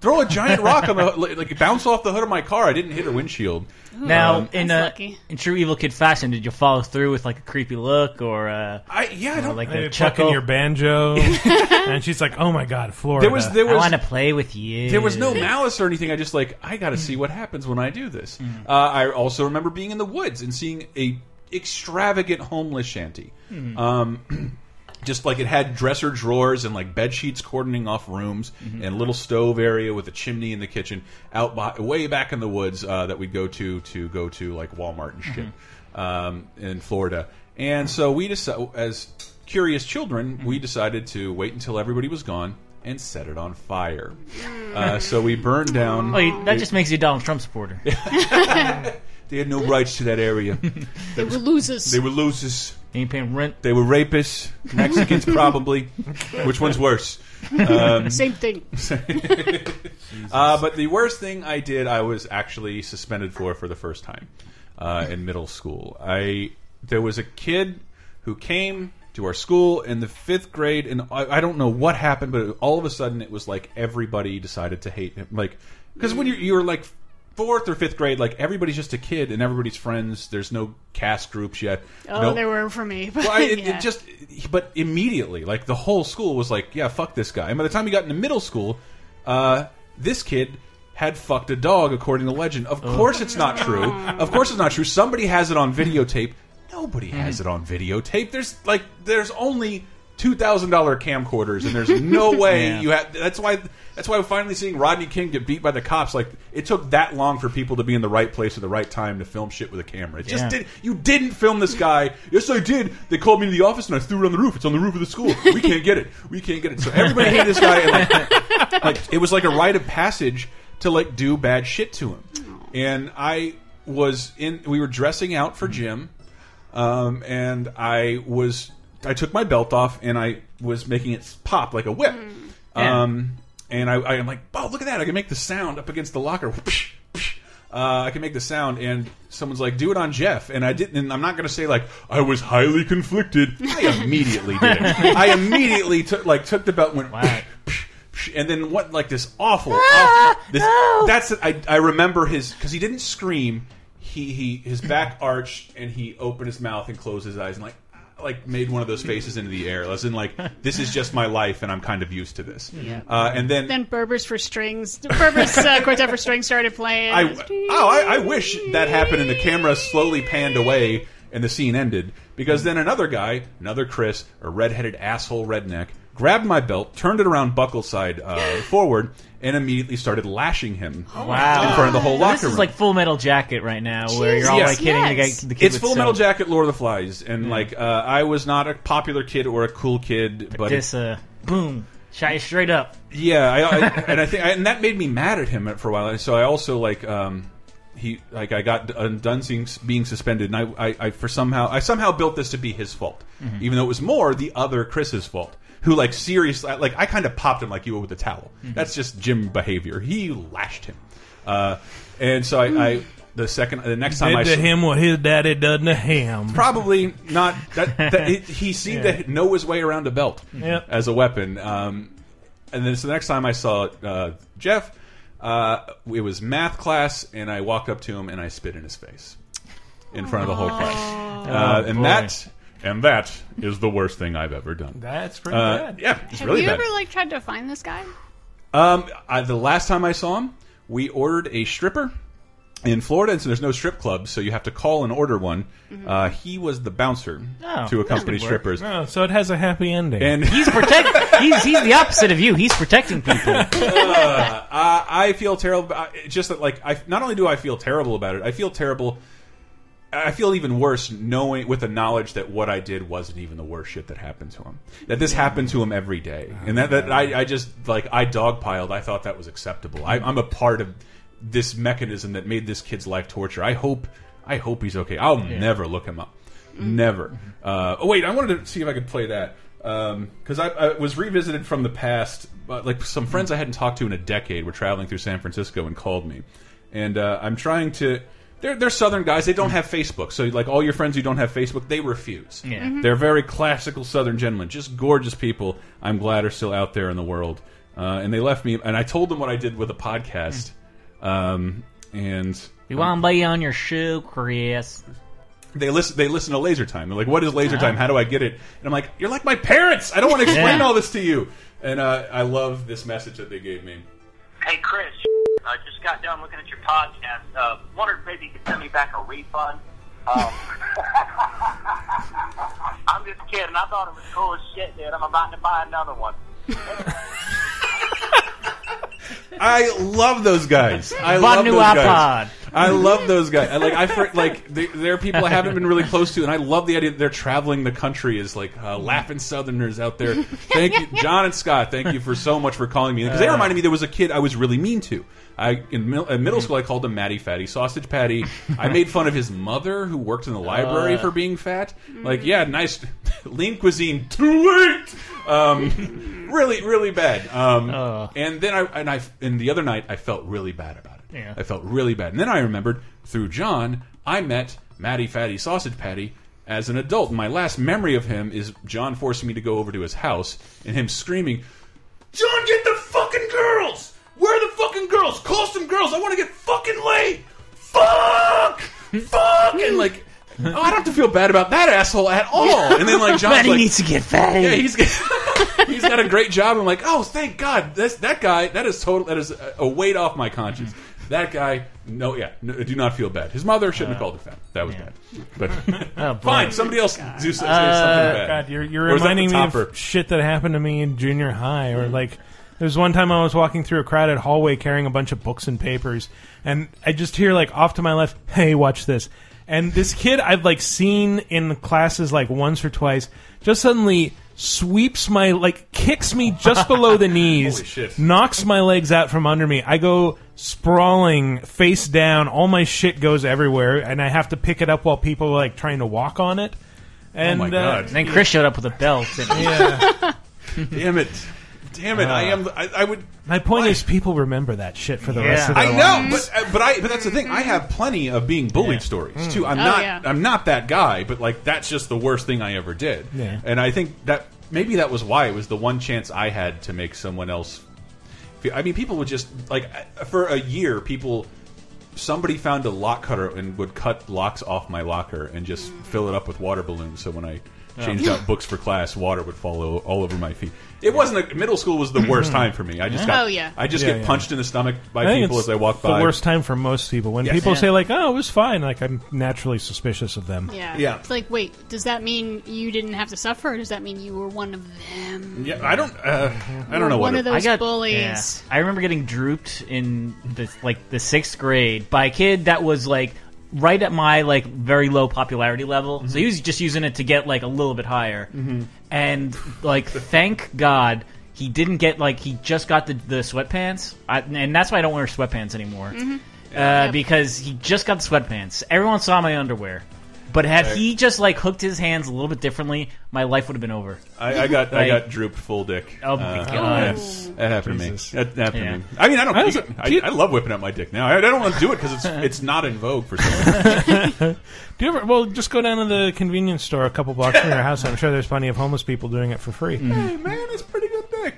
S4: throw a giant rock on the like bounce off the hood of my car? I didn't hit her windshield.
S7: Now,
S4: Um,
S7: in uh, in true evil kid fashion, did you follow through with like a creepy look or uh,
S4: I, yeah, I
S7: don't like
S5: Maybe
S7: a
S5: chucking
S7: chuckle?
S5: your banjo, and she's like, "Oh my God, Florida!"
S4: There was- there was- I wanna
S7: play with you.
S4: There was no malice or anything. I just like I got to see what happens when I do this.
S7: Mm-hmm.
S4: Uh, I also remember being in the woods and seeing a extravagant homeless shanty.
S3: Mhm.
S7: Hmm.
S4: Um, just like it had dresser drawers and like bed sheets cordoning off rooms and little stove area with a chimney in the kitchen out by, way back in the woods uh, that we go to to go to like Walmart and shit um, in Florida. And so we decided, as curious children, we decided to wait until everybody was gone and set it on fire. Uh, so we burned down.
S7: Oh, you- that just makes you a Donald Trump supporter.
S4: They had no rights to that area.
S6: They were losers.
S4: They were losers.
S7: They ain't paying rent.
S4: They were rapists. Mexicans, probably. Which one's worse? Um,
S6: Same thing.
S4: uh, but the worst thing I did, I was actually suspended for for the first time uh, in middle school. I there was a kid who came to our school in the fifth grade, and I, I don't know what happened, but all of a sudden it was like everybody decided to hate him, like because when you're you're like fourth or fifth grade, like everybody's just a kid and everybody's friends. There's no cast groups yet.
S6: Oh,
S4: no,
S6: they were for me. But
S4: well,
S6: *laughs*
S4: I, it,
S6: yeah.
S4: it just, but immediately, like the whole school was like, "Yeah, fuck this guy." And by the time he got into middle school, uh, this kid had fucked a dog, according to legend. Of
S7: Oh.
S4: course, it's not true. Of course, it's not true. Somebody has it on videotape. Nobody
S7: Mm.
S4: has it on videotape. There's like, there's only two thousand dollar camcorders, and there's
S7: *laughs*
S4: no way
S7: Yeah.
S4: you have. That's why. That's why we're finally seeing Rodney King get beat by the cops. Like it took that long for people to be in the right place at the right time to film shit with a camera. It just
S7: Yeah.
S4: did. You didn't film this guy. Yes, I did. They called me to the office and I threw it on the roof. It's on the roof of the school. We can't get it. We can't get it. So everybody hated this guy. And like, like, it was like a rite of passage to like do bad shit to him. And I was in. We were dressing out for gym, um, and I was. I took my belt off and I was making it pop like a whip.
S3: Yeah.
S4: Um, and I, I'm like, oh, look at that! I can make the sound up against the locker. uh, I can make the sound, and someone's like, "Do it on Jeff," and I didn't. And I'm not going to say like I was highly conflicted. I immediately did it. I immediately took like took the belt, and went, and then what? Like this awful. awful this, That's I. I remember his because he didn't scream. He he his back arched and he opened his mouth and closed his eyes and like like made one of those faces into the air, as in like this is just my life and I'm kind of used to this.
S6: Yeah.
S4: Uh, and then
S6: Then Berbers for Strings, Berbers uh, Quartet for Strings started playing.
S4: I oh I, I wish that happened and the camera slowly panned away and the scene ended because then another guy, another Chris, a redheaded asshole redneck, grabbed my belt, turned it around buckle side
S7: *gasps*
S4: uh, forward, and immediately started lashing him
S7: Oh Wow.
S4: in front of the whole
S7: So
S4: locker
S7: this is
S4: room.
S7: like Full Metal Jacket right now, where you're all
S4: Yeah.
S7: like hitting the guy. The kid
S4: it's
S7: with Mm.
S4: Full
S7: soap.
S4: Metal Jacket, Lord of the Flies, and like uh, I was not a popular kid or a cool kid, but
S7: This uh, boom. Shy straight up.
S4: Yeah, I,
S5: *laughs*
S4: I, and I think and that made me mad at him for a while. And so I also like um, he like I got undone seeing, being suspended, and I, I, I for somehow I somehow built this to be his fault,
S5: Mm-hmm.
S14: Mhm.
S4: even though it was more the other Chris's fault. Who like seriously like I kind of popped him like you would with a towel.
S5: Mm-hmm.
S14: Mhm.
S4: That's just Jim behavior. He lashed him, uh, and so I, I the second the next time
S5: Mm. Did
S4: I
S5: to
S4: saw-
S5: him what his daddy done to him.
S4: Probably not. That, that he, he seemed
S5: *laughs* Yeah.
S4: to know his way around a belt
S5: Yep.
S4: as a weapon. Um, and then so the next time I saw uh, Jeff, uh, it was math class, and I walked up to him and I spit in his face in front of the whole class. Uh,
S14: Oh,
S4: and
S14: boy.
S4: that and that is the worst thing I've ever done.
S5: That's pretty
S4: Uh,
S5: bad.
S4: Yeah, it's
S6: Have
S4: really
S6: you
S4: bad.
S6: ever like tried to find this guy?
S4: Um, I, the last time I saw him, we ordered a stripper in Florida, and so there's no strip club, so you have to call and order one.
S6: Mm-hmm.
S4: Uh, he was the bouncer
S7: Oh,
S4: to
S7: that
S4: accompany
S7: could work.
S4: strippers.
S5: Oh, so it has a happy ending.
S4: And
S7: *laughs* he's protect. he's he's the opposite of you. He's protecting people.
S4: Uh, I, I feel terrible. I- it's Just that, like, I not only do I feel terrible about it, I feel terrible. I feel even worse knowing with the knowledge that what I did wasn't even the worst shit that happened to him. That this happened to him every day, and that that I, I just like I dogpiled. I thought that was acceptable. I, I'm a part of this mechanism that made this kid's life torture. I hope I hope he's okay. I'll
S14: Yeah.
S4: never look him up. Never. Uh, oh wait, I wanted to see if I could play that because I, I was revisited from the past. But like some friends I hadn't talked to in a decade were traveling through San Francisco and called me, and uh, I'm trying to. They're, they're Southern guys. They don't have Facebook, so like all your friends who don't have Facebook, they refuse.
S14: Yeah. Mhm.
S4: They're very classical Southern gentlemen, just gorgeous people. I'm glad are still out there in the world. Uh, and they left me, and I told them what I did with a podcast, um, and
S7: You want to lay on your shoe, Chris?
S4: they listen they listen to laser time they're like what is laser time how do i get it and i'm like you're like my parents i don't want to explain
S14: Yeah.
S4: all this to you and uh, i love this message that they gave me
S15: Hey, Chris, I just got done looking at your podcast. Uh, wondered maybe you could send me back a refund. Um, *laughs* I'm just kidding. I thought it was cool as shit, dude. I'm about to buy another one.
S4: i love those guys i
S7: Bon
S4: love those
S7: nu
S4: guys
S7: iPod.
S4: i love those guys I, like i for, like they, they're people i haven't been really close to and i love the idea that they're traveling the country as like uh, laughing southerners out there thank you john and scott thank you for so much for calling me because they
S14: Uh.
S4: reminded me there was a kid i was really mean to I, in, mil in middle school, I called him Matty Fatty Sausage Patty.
S14: *laughs*
S4: I made fun of his mother, who worked in the library,
S14: Uh.
S4: for being fat. Like, yeah, nice *laughs* lean cuisine. Too late.
S14: *laughs*
S4: Um, really, really bad. Um,
S14: Uh.
S4: and then I and I and the other night I felt really bad about it.
S14: Yeah.
S4: I felt really bad. And then I remembered through John, I met Matty Fatty Sausage Patty as an adult. And my last memory of him is John forcing me to go over to his house and him screaming, John, get the fucking girls! Where are the fucking girls? Call some girls! I want to get fucking laid! Fuck! Fuck! And like, oh, I don't have to feel bad about that asshole at all. And then like, John's
S14: Matty
S4: like,
S14: needs to get fatty.
S4: Yeah, he's *laughs* he's got a great job. I'm like, oh, thank God, this that guy that is total that is a- a weight off my conscience.
S5: Mm-hmm.
S4: That guy, no, yeah, no, do not feel bad. His mother shouldn't
S5: Uh,
S4: have called her fat. That was
S5: *laughs*
S4: bad. But fine, somebody else do so- say something
S5: Oh, Uh,
S4: bad.
S5: God, you're, you're
S4: Or is that the
S5: reminding me
S4: topper?
S5: *laughs*
S4: Hmm.
S5: of shit that happened to me in junior high, or like. There was one time I was walking through a crowded hallway carrying a bunch of books and papers, and I just hear like off to my left, "Hey, watch this!" And this kid I've like seen in classes like once or twice just suddenly sweeps my like kicks me just
S4: *laughs*
S5: below the knees,
S4: Holy shit.
S5: knocks my legs out from under me. I go sprawling face down, all my shit goes everywhere, and I have to pick it up while people are like trying to walk on it.
S4: Oh
S5: And uh,
S7: And then Chris showed up with a belt. didn't he?
S5: Yeah.
S4: Damn it! Damn it! I
S5: Uh.
S4: am. I, I would.
S5: My point is, people remember that shit for the rest of their
S4: I know,
S5: lives.
S4: but uh, but I but that's the thing. I have plenty of being bullied
S5: Mm.
S4: stories too. I'm
S14: Oh,
S4: not
S14: yeah.
S4: I'm not that guy, but like that's just the worst thing I ever did.
S14: Yeah.
S4: And I think that maybe that was why it was the one chance I had to make someone else. Feel, I mean, people would just like uh, for a year, people. Somebody found a lock cutter and would cut locks off my locker and just fill it up with water balloons. So when I
S14: Oh.
S4: changed
S5: *laughs*
S4: out books for class, water would follow all over my feet. It wasn't a, middle school was the worst time for me. I just got
S6: Oh, yeah.
S4: I just
S5: Mm-hmm. Yeah,
S4: get
S5: yeah.
S4: punched in the stomach by
S5: I think
S4: people
S5: it's
S4: as I walk
S5: the
S4: by.
S5: worst time for most people when
S4: Yes.
S5: people
S4: Yeah.
S5: say like, "Oh, it was fine." Like I'm naturally suspicious of them.
S6: Yeah. It's like, wait, does that mean you didn't have to suffer? Or does that mean you were one of them?
S4: Yeah, I don't. Uh,
S6: I don't know One what of it- those bullies.
S7: I remember getting drooped in the, like the sixth grade by a kid that was like right at my like very low popularity level.
S6: Mm-hmm.
S7: So he was just using it to get like a little bit higher. And like, thank God. He didn't get like he just got the the sweatpants, I, and that's why I don't wear sweatpants anymore.
S6: Mhm.
S7: Uh, Because he just got the sweatpants. Everyone saw my underwear, but had
S4: Right.
S7: he just like hooked his hands a little bit differently, my life would have been over.
S4: I, I got I
S7: Like,
S4: got drooped full dick.
S7: Oh my
S4: Uh,
S7: God.
S4: yeah. that happened
S7: Jesus.
S4: to me. That, that happened
S7: Yeah.
S4: to me. I mean, I don't.
S7: I was-
S4: you- I, I love whipping out my dick now. I, I don't want to do it because
S7: *laughs*
S4: it's it's not in vogue for some reason.
S5: Do you ever? Well, just go down to the convenience store a couple blocks from your house. I'm sure there's plenty of homeless people doing it for free.
S4: man, it's pretty good
S7: *laughs*
S4: dick.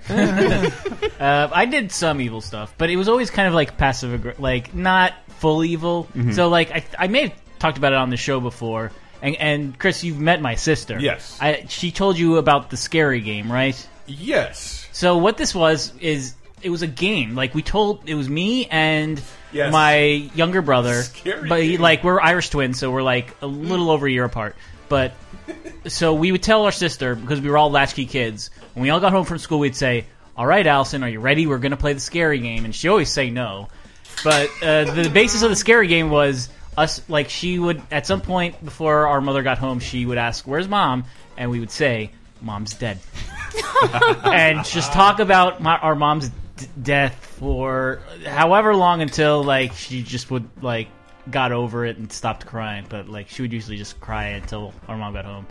S7: uh, I did some evil stuff, but it was always kind of like passive, aggr- like not full evil.
S4: Mhm.
S7: So like I, I may have talked about it on the show before. And, and Chris, you've met my sister.
S4: Yes.
S7: I, she told you about the scary game, right?
S4: Yes.
S7: So what this was is it was a game. Like we told, it was me and
S4: Yes.
S7: my younger brother.
S4: Scary
S7: but
S4: game.
S7: like we're Irish twins, so we're like a little over a year apart. But so we would tell our sister because we were all latchkey kids. When we all got home from school, we'd say, "All right, Allison, are you ready? We're gonna play the scary game." And she always say no. But uh, the basis of the scary game was us. Like she would at some point before our mother got home, she would ask, "Where's mom?" And we would say, "Mom's dead." and just talk about my, our mom's d- death for however long until like she just would like got over it and stopped crying but like she would usually just cry until our mom got home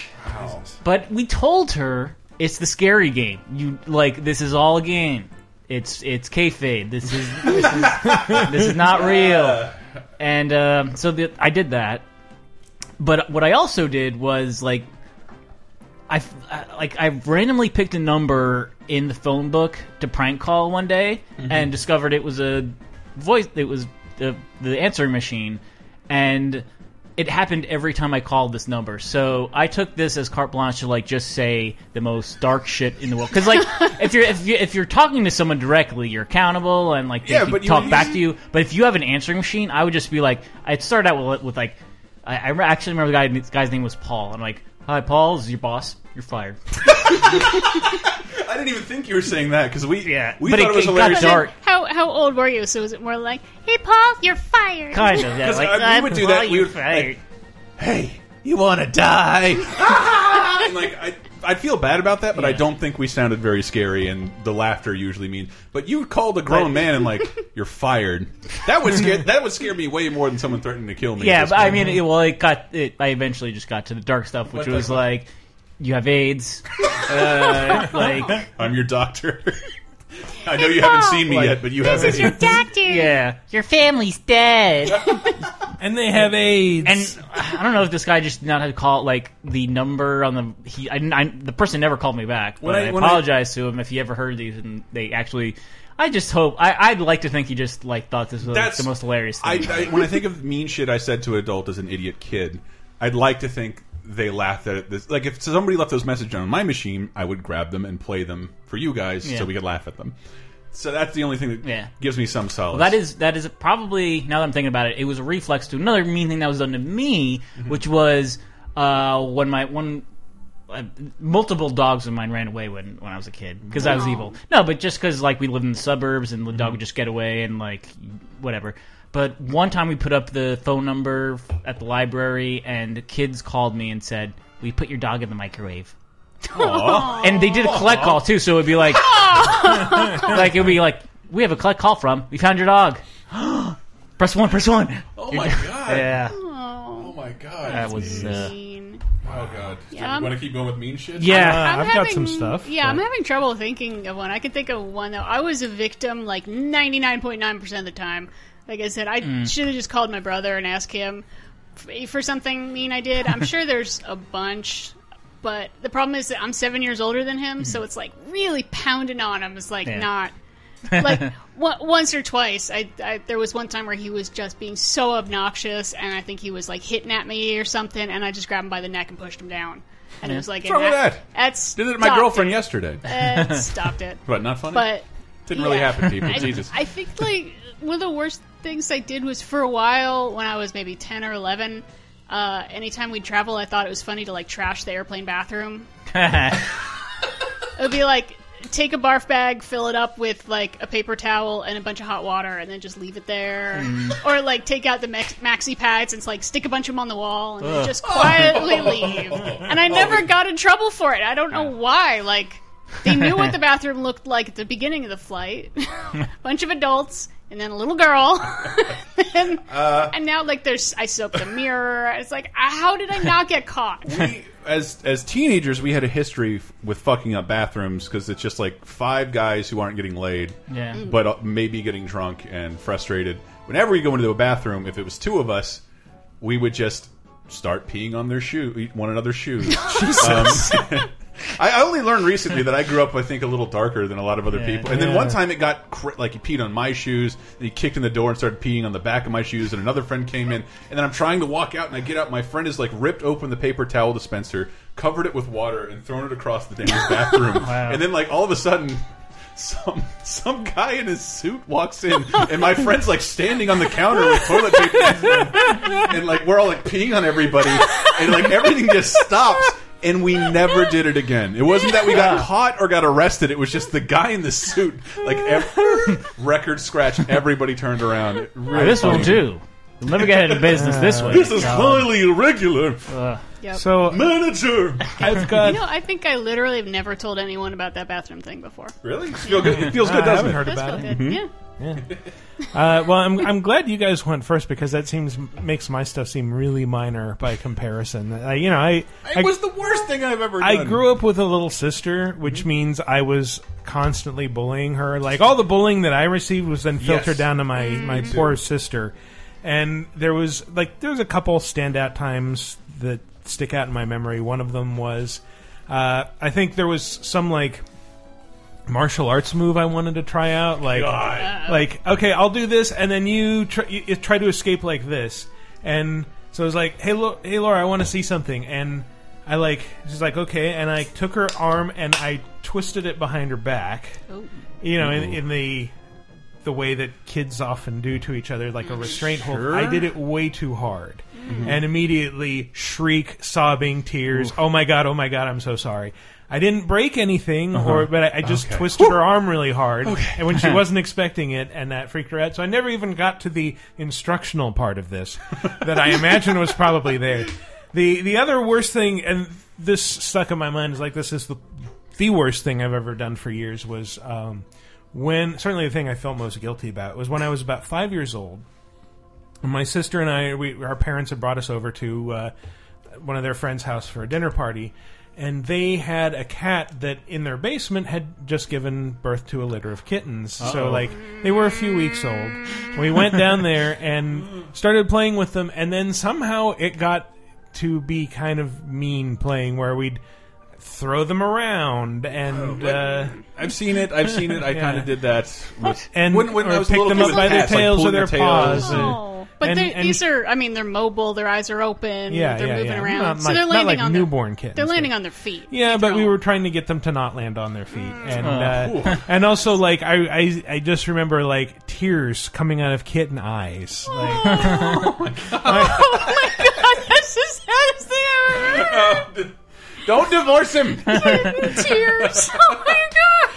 S7: but we told her it's the scary game you like this is all a game it's it's kayfabe this is this is, this is not real and um, so the, i did that but what i also did was like I, I- like I randomly picked a number in the phone book to prank call one day
S14: Mhm.
S7: and discovered it was a voice it was the, the answering machine and it happened every time I called this number. So I took this as carte blanche to like just say the most dark shit in the world cuz
S4: *laughs*
S7: like if you're if you if you're talking to someone directly you're accountable and like they
S14: Yeah,
S7: can
S14: but you
S7: talk
S14: were
S7: back
S14: using-
S7: to you. But if you have an answering machine, I would just be like, I'd start out with, with like, I, I re- actually remember the guy, this guy's name was Paul. I'm like, hi, Paul, this is your boss. You're fired. *laughs*
S4: I didn't even think you were saying that because we yeah, we
S7: but
S4: thought
S7: it-
S4: it, was
S7: it got
S4: hilarious.
S7: dark.
S6: How how old were you? So was it more like, "Hey, Paul, you're fired."
S7: Kind of,
S4: *laughs*
S7: yeah,
S4: 'Cause,
S7: like,
S4: uh,
S7: "Ah,
S4: we would do
S7: Paul,
S4: that. We
S7: you're
S4: would
S7: fired.
S4: like, hey, you want to die? and like I, I feel bad about that, but I don't think we sounded very scary, and the laughter usually means. But you called a grown
S7: But-
S4: man and
S7: *laughs*
S4: like you're fired. That would scare that would scare me way more than someone threatening to kill me. at
S7: yeah,
S4: this
S7: but I
S4: point.
S7: mean, it, well, it got. It, I eventually just got to the dark stuff, which
S4: What
S7: was
S4: dark
S7: like, you
S4: *laughs*
S7: have AIDS. uh, like,
S4: I'm your doctor. *laughs* I know you haven't seen me
S7: Like,
S4: yet, but you
S7: *laughs*
S4: have. any-
S7: doctor. Yeah, your family's dead,
S5: and they have AIDS.
S7: And I don't know if this guy just did not have to call like the number on the he. I, I- the person never called me back. But
S4: When
S7: I,
S4: I- when I-
S7: apologize to him if he ever heard these and they actually. I just hope I, I'd like to think he just like thought this was like,
S4: That's-
S7: the most hilarious
S4: I,
S7: thing.
S4: I, when I think of mean shit I said to an adult as an idiot kid, I'd like to think they laughed at it. This, like if somebody left those messages on my machine, I would grab them and play them for you guys
S7: Yeah.
S4: so we could laugh at them. So that's the only thing that
S7: Yeah.
S4: gives me some solace.
S7: Well, that is that is probably now that I'm thinking about it, it was a reflex to another mean thing that was done to me, which was uh, when my one uh, multiple dogs of mine ran away when when I was a kid because I was
S14: Aw.
S7: evil. No, but just because like we lived in the suburbs and the dog would just get away and like whatever. But one time we put up the phone number f- at the library and kids called me and said we put your dog in the microwave.
S4: Oh
S7: *laughs*
S14: Aw.
S7: And they did a collect call too, so it'd be *laughs* like like it would be like we have a collect call from we found your dog *gasps* press one press one
S4: Oh my god!
S7: yeah
S4: Oh my god!
S7: that was uh,
S4: Oh god!
S6: Yeah.
S4: Do you want to keep going with mean shit?
S6: I'm having- Yeah, I'm having trouble thinking of one. I can think of one though. I was a victim like 99.9% of the time. Like I said, I
S14: Mm.
S6: should have just called my brother and asked him f- for something mean I did.
S14: *laughs*
S6: I'm sure there's a bunch, but the problem is that I'm seven years older than him, so it's like really pounding on him. It's like
S14: Mm-hmm. Yeah. *laughs*
S6: not like on- once or twice I, I there was one time where he was just being so obnoxious and i think he was like hitting at me or something and i just grabbed him by the neck and pushed him down and it
S4: Yeah.
S6: was like
S4: What's wrong
S6: and
S4: with that?
S6: that's
S4: Did it to my
S6: stopped
S4: girlfriend
S6: it.
S4: yesterday.
S6: Uh,
S4: *laughs*
S6: stopped it
S4: What? Not funny.
S6: but
S4: Didn't really
S6: yeah.
S4: happen, *laughs* people.
S6: I,
S4: Jesus.
S6: *laughs* I think like one of the worst things I did was for a while when I was maybe ten or eleven. Uh, anytime we'd travel, I thought it was funny to like trash the
S14: *laughs*
S6: airplane bathroom. It would be like take a barf bag, fill it up with like a paper towel and a bunch of hot water, and then just leave it there.
S14: Mm.
S6: Or like take out the max- maxi pads and like stick a bunch of them on the wall and then
S14: Ugh. *laughs*
S6: just quietly leave. And I never got in trouble for it. I don't know why. Like They knew
S14: *laughs*
S6: what the bathroom looked like at the beginning of the flight. *laughs* Bunch of adults and then a
S5: *laughs*
S6: little girl. and,
S4: Uh,
S6: and now, like, there's I soaked a mirror. It's like, ah, how did I not get caught?
S4: as as teenagers, we had a history f- with fucking up bathrooms because it's just like five guys who aren't getting laid,
S7: Yeah. Mm.
S4: but uh, maybe getting drunk and frustrated. Whenever we go into a bathroom, if it was two of us, we would just start peeing on their shoe, one another's shoes.
S3: Jesus.
S4: Um, *laughs* I I only learned recently that I grew up, I think, a little darker than a lot of other
S3: Yeah.
S4: people. And then
S3: Yeah.
S4: one time it got cr like he peed on my shoes, and he kicked in the door and started peeing on the back of my shoes. And another friend came in, and then I'm trying to walk out, and I get out. My friend is like ripped open the paper towel dispenser, covered it with water, and thrown it across the damn
S3: *laughs*
S4: bathroom.
S3: Wow.
S4: And then like all of a sudden. Some some guy in his suit walks in, and my friend's like standing on the counter with toilet paper, and like we're all like peeing on everybody, and like everything just stops. And we never did it again. It wasn't that we got
S3: Yeah.
S4: caught or got arrested. It was just the guy in the suit, like ev- record scratch. Everybody turned around. It really
S7: this will
S4: funny.
S7: do. You'll never get out of business this way. *laughs*
S4: This is
S7: Um,
S4: highly irregular.
S6: Yep.
S5: So
S4: *laughs* manager,
S5: I've
S6: you know, I think I literally have never told anyone about that bathroom thing before.
S4: Really? Feel good- it feels good,
S5: I
S4: doesn't
S5: haven't
S4: it?
S5: heard
S4: It does
S5: about
S6: feel
S5: it.
S6: good, Mhm. yeah.
S5: Uh, well, I'm, I'm glad you guys went first because that seems makes my stuff seem really minor by comparison. I, you know, I
S4: It was the worst thing I've ever
S5: I
S4: done.
S5: grew up with a little sister, which means I was constantly bullying her. Like all the bullying that I received was then filtered
S4: Yes.
S5: down to my my
S4: Me too.
S5: poor sister. And there was like there was a couple standout times that stick out in my memory. One of them was uh, I think there was some like martial arts move I wanted to try out. Like,
S3: God.
S5: like okay, I'll do this, and then you try, you, you try to escape like this. And so I was like, hey, Lo- hey, Laura, I want to see something. And I like, she's like, okay. And I took her arm and I twisted it behind her back.
S6: Oh.
S5: You know, in,
S6: Ooh.
S5: in the the way that kids often do to each other, like a restraint
S3: Mm. Sure.
S5: hold. I did it way too hard,
S3: Mhm.
S5: and immediately shriek, sobbing, tears. Oh my god! Oh my god! I'm so sorry. I didn't break anything,
S3: Uh-huh.
S5: or but I, I just
S3: Okay.
S5: twisted her arm really hard,
S3: Okay.
S5: and when
S3: *laughs*
S5: she wasn't expecting it, and that freaked her out. So I never even got to the instructional part of this
S3: *laughs*
S5: that I imagine was probably there. The the other worst thing, and this stuck in my mind, is like this is the the worst thing I've ever done for years was um, when certainly the thing I felt most guilty about was when I was about five years old. And my sister and I, we, our parents had brought us over to uh, one of their friends' house for a dinner party, and they had a cat that in their basement had just given birth to a litter of kittens. So
S3: Uh-oh.
S5: like they were a few weeks old. We went down there and started playing with them, and then somehow it got to be kind of mean playing where we'd throw them around and uh,
S4: I've seen it. I've seen *laughs* it. I
S5: Yeah.
S4: kind of did that. *laughs* With,
S5: and
S4: when, when
S5: or
S4: I was a
S5: pick
S4: little
S5: them
S4: kid
S5: up
S4: with
S5: by their
S4: cats, like,
S5: tails or
S4: pulling
S5: their paws. and-
S6: Oh. But
S5: and-
S6: they're
S5: and-
S6: these are, I mean, they're mobile. Their eyes are open.
S5: Yeah,
S6: they're
S5: yeah,
S6: moving
S5: yeah.
S6: around.
S5: Not
S6: so
S5: like-
S6: they're
S5: not
S6: landing
S5: like
S6: on
S5: newborn
S6: their,
S5: kittens,
S6: They're
S5: but-
S6: landing on their feet.
S5: Yeah, but we were trying to get them to not land on their feet,
S6: Mm.
S5: and
S3: Oh.
S5: uh, *laughs* and also like I, I I just remember like tears coming out of kitten eyes. Like,
S6: oh my god, *laughs* that's the saddest thing I've ever
S5: *laughs*
S6: heard.
S4: Uh, Don't divorce him.
S6: Tears. Oh my god.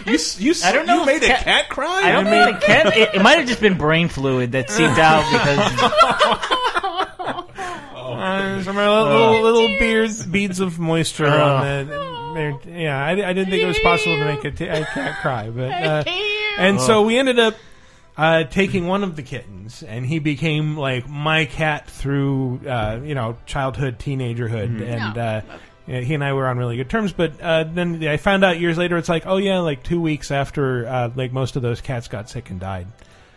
S4: You s- you s-
S7: I don't know
S4: you
S7: if
S4: made a
S7: cat-
S4: cat cry.
S7: I don't
S4: mean-
S7: think the cat. It, it might have just been brain fluid that seeped out because
S5: Uh, some little little, little beards, beads of moisture on
S4: Oh.
S5: the. Yeah, I, I didn't think it was possible to make a, t- a cat cry,
S6: *laughs*
S5: but uh, and so we ended up uh, taking one of the kittens, and he became like my cat through uh, you know childhood, teenagerhood,
S4: Mm-hmm.
S5: and.
S3: No.
S5: Uh, yeah, he and I were on really good terms, but uh, then I found out years later. It's like, oh yeah, like two weeks after, uh, like most of those cats got sick and died.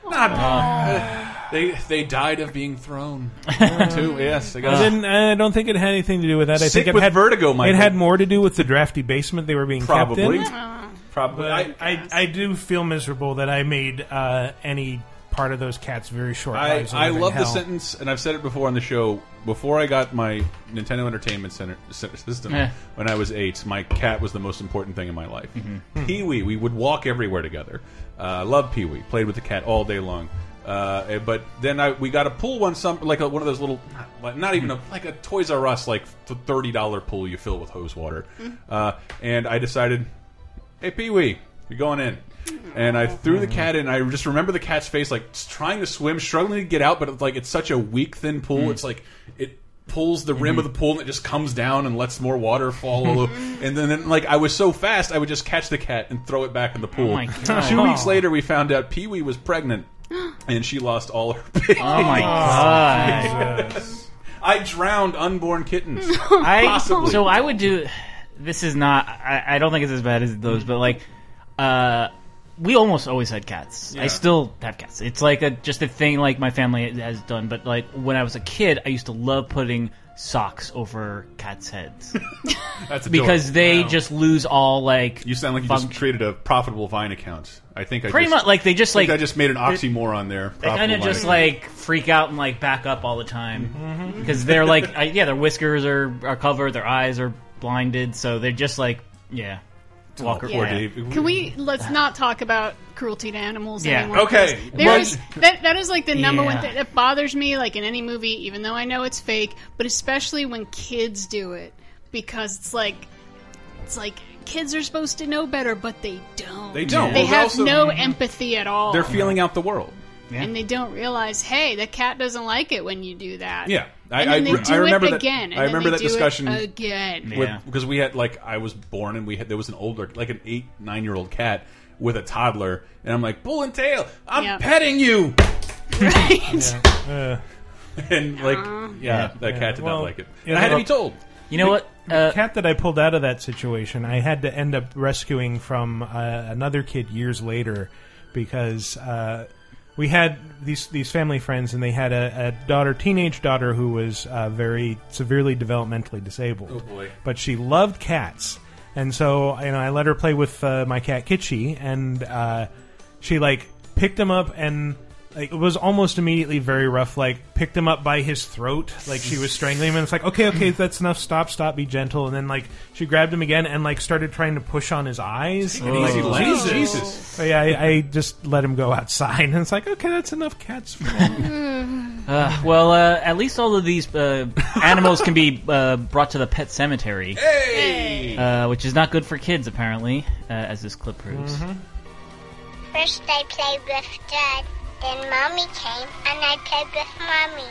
S4: Not- they they died of being
S7: *laughs*
S4: thrown. too. Yes, I
S5: I,
S4: got it.
S5: didn't, uh, I don't think it had anything to do with that. I
S4: Sick
S5: think it
S4: with
S5: had
S4: vertigo, Michael.
S5: It had more to do with the drafty basement they were being
S4: Probably.
S5: kept in.
S4: Probably.
S5: But
S4: I,
S5: I, I, do feel miserable that I made uh, any part of those cats very short.
S4: I,
S5: lives
S4: I
S5: living
S4: love the
S5: hell.
S4: sentence, and I've said it before on the show. Before I got my Nintendo Entertainment Center, Center system,
S3: Eh.
S4: when I was eight, my cat was the most important thing in my life.
S3: Hmm.
S4: Pee Wee, we would walk everywhere together. Uh, I loved Pee Wee. Played with the cat all day long. Uh, but then I, we got a pool one some like a, one of those little like, not even a like a Toys R Us like thirty dollar pool you fill with hose water,
S3: Mhm.
S4: uh, and I decided hey Pee Wee, you're going in. And I threw the cat in. I just remember the cat's face, like s- trying to swim, struggling to get out, but it's like it's such a weak, thin pool.
S3: Mm.
S4: It's like it pulls the rim
S14: Mhm.
S4: of
S7: Mm-hmm.
S4: the pool and it just comes down and lets more water fall
S7: *laughs*
S4: all over. And then, then, like I was so fast, I would just catch the cat and throw it back in
S7: Oh
S4: the pool.
S14: my God.
S4: *laughs* Two weeks later, we found out Pee Wee was
S7: *gasps*
S4: pregnant, and she lost all her. *laughs* Babies.
S14: Oh,
S7: *laughs*
S14: my
S5: uh,
S14: God.
S4: I drowned unborn
S7: *laughs*
S4: kittens.
S7: I
S4: Possibly.
S7: so I would do. This is not. I, I don't think it's as bad as those, but like, uh, we almost always had cats.
S14: Yeah.
S7: I still have cats. It's like a just a thing like my family has done. But like when I was a kid, I used to love putting socks over
S4: *laughs*
S7: cats' heads.
S4: That's
S7: because they
S4: Wow.
S7: just lose all like.
S4: You sound like you just created a profitable Vine account. I think I
S7: Pretty
S4: just,
S7: much, like, they just,
S4: I think
S7: like-
S4: I just made an
S7: they-
S4: oxymoron there.
S7: They kind
S4: Profitable
S7: of
S4: Vine
S7: just
S4: account.
S7: like freak out and like back up all the time
S4: Mm-hmm. *laughs*
S7: because they're like, I, yeah, their whiskers are, are covered, their eyes are blinded, so they're just like, yeah, walker
S6: Yeah. Can we let's not talk about cruelty to animals
S7: Yeah.
S6: anymore?
S7: Okay.
S6: because there
S7: Lunch-
S6: is- that that is like the number
S7: Yeah.
S6: one thing that bothers me, like in any movie, even though I know it's fake, but especially when kids do it because it's like it's like kids are supposed to know better, but they don't.
S4: They don't.
S6: They
S4: Well,
S6: have
S4: also-
S6: no
S4: Mhm.
S6: empathy at all.
S4: they're feeling out the world.
S6: and they don't realize, hey, the cat doesn't like it when you do that.
S4: Yeah,
S6: and then
S4: I,
S6: they
S4: re-
S6: do
S4: I remember
S6: it
S4: that.
S6: again. and
S4: I
S6: then
S4: remember
S6: they
S4: that
S6: do it
S4: discussion
S6: again.
S4: because we had like I was born and we had there was an older like an eight nine year old cat with a toddler and I'm like bull and tail I'm
S6: Yeah.
S4: petting you
S6: right
S4: *laughs* and like yeah that cat did
S5: well,
S4: not like it
S5: yeah,
S4: and I had to
S5: well,
S4: be told
S5: the-
S7: Uh,
S5: the cat that I pulled out of that situation, I had to end up rescuing from uh, another kid years later because uh, we had these these family friends, and they had a, a daughter, teenage daughter, who was uh, very severely developmentally disabled.
S4: Oh, boy.
S5: But she loved cats, and so you know, I let her play with uh, my cat Kitschy, and uh, she like picked him up and. Like, it was almost immediately very rough. Like picked him up by his throat, like she was strangling him, and it's like,
S4: *clears throat*
S5: okay, okay, that's enough. Stop, stop, be gentle. And then like she grabbed him again and like started trying to push on his eyes.
S4: Take it easy,
S5: Like,
S4: Lance.
S5: Jesus.
S4: Jesus.
S5: But Yeah, I, I just let him go outside, *laughs* and it's like, okay, that's enough cats. For
S7: Uh, well, uh, at least all of these uh, animals can be uh, brought to the pet cemetery, uh, which is not good for kids, apparently, uh, as this clip proves.
S16: First I played with Dad, then Mommy came and I played with Mommy.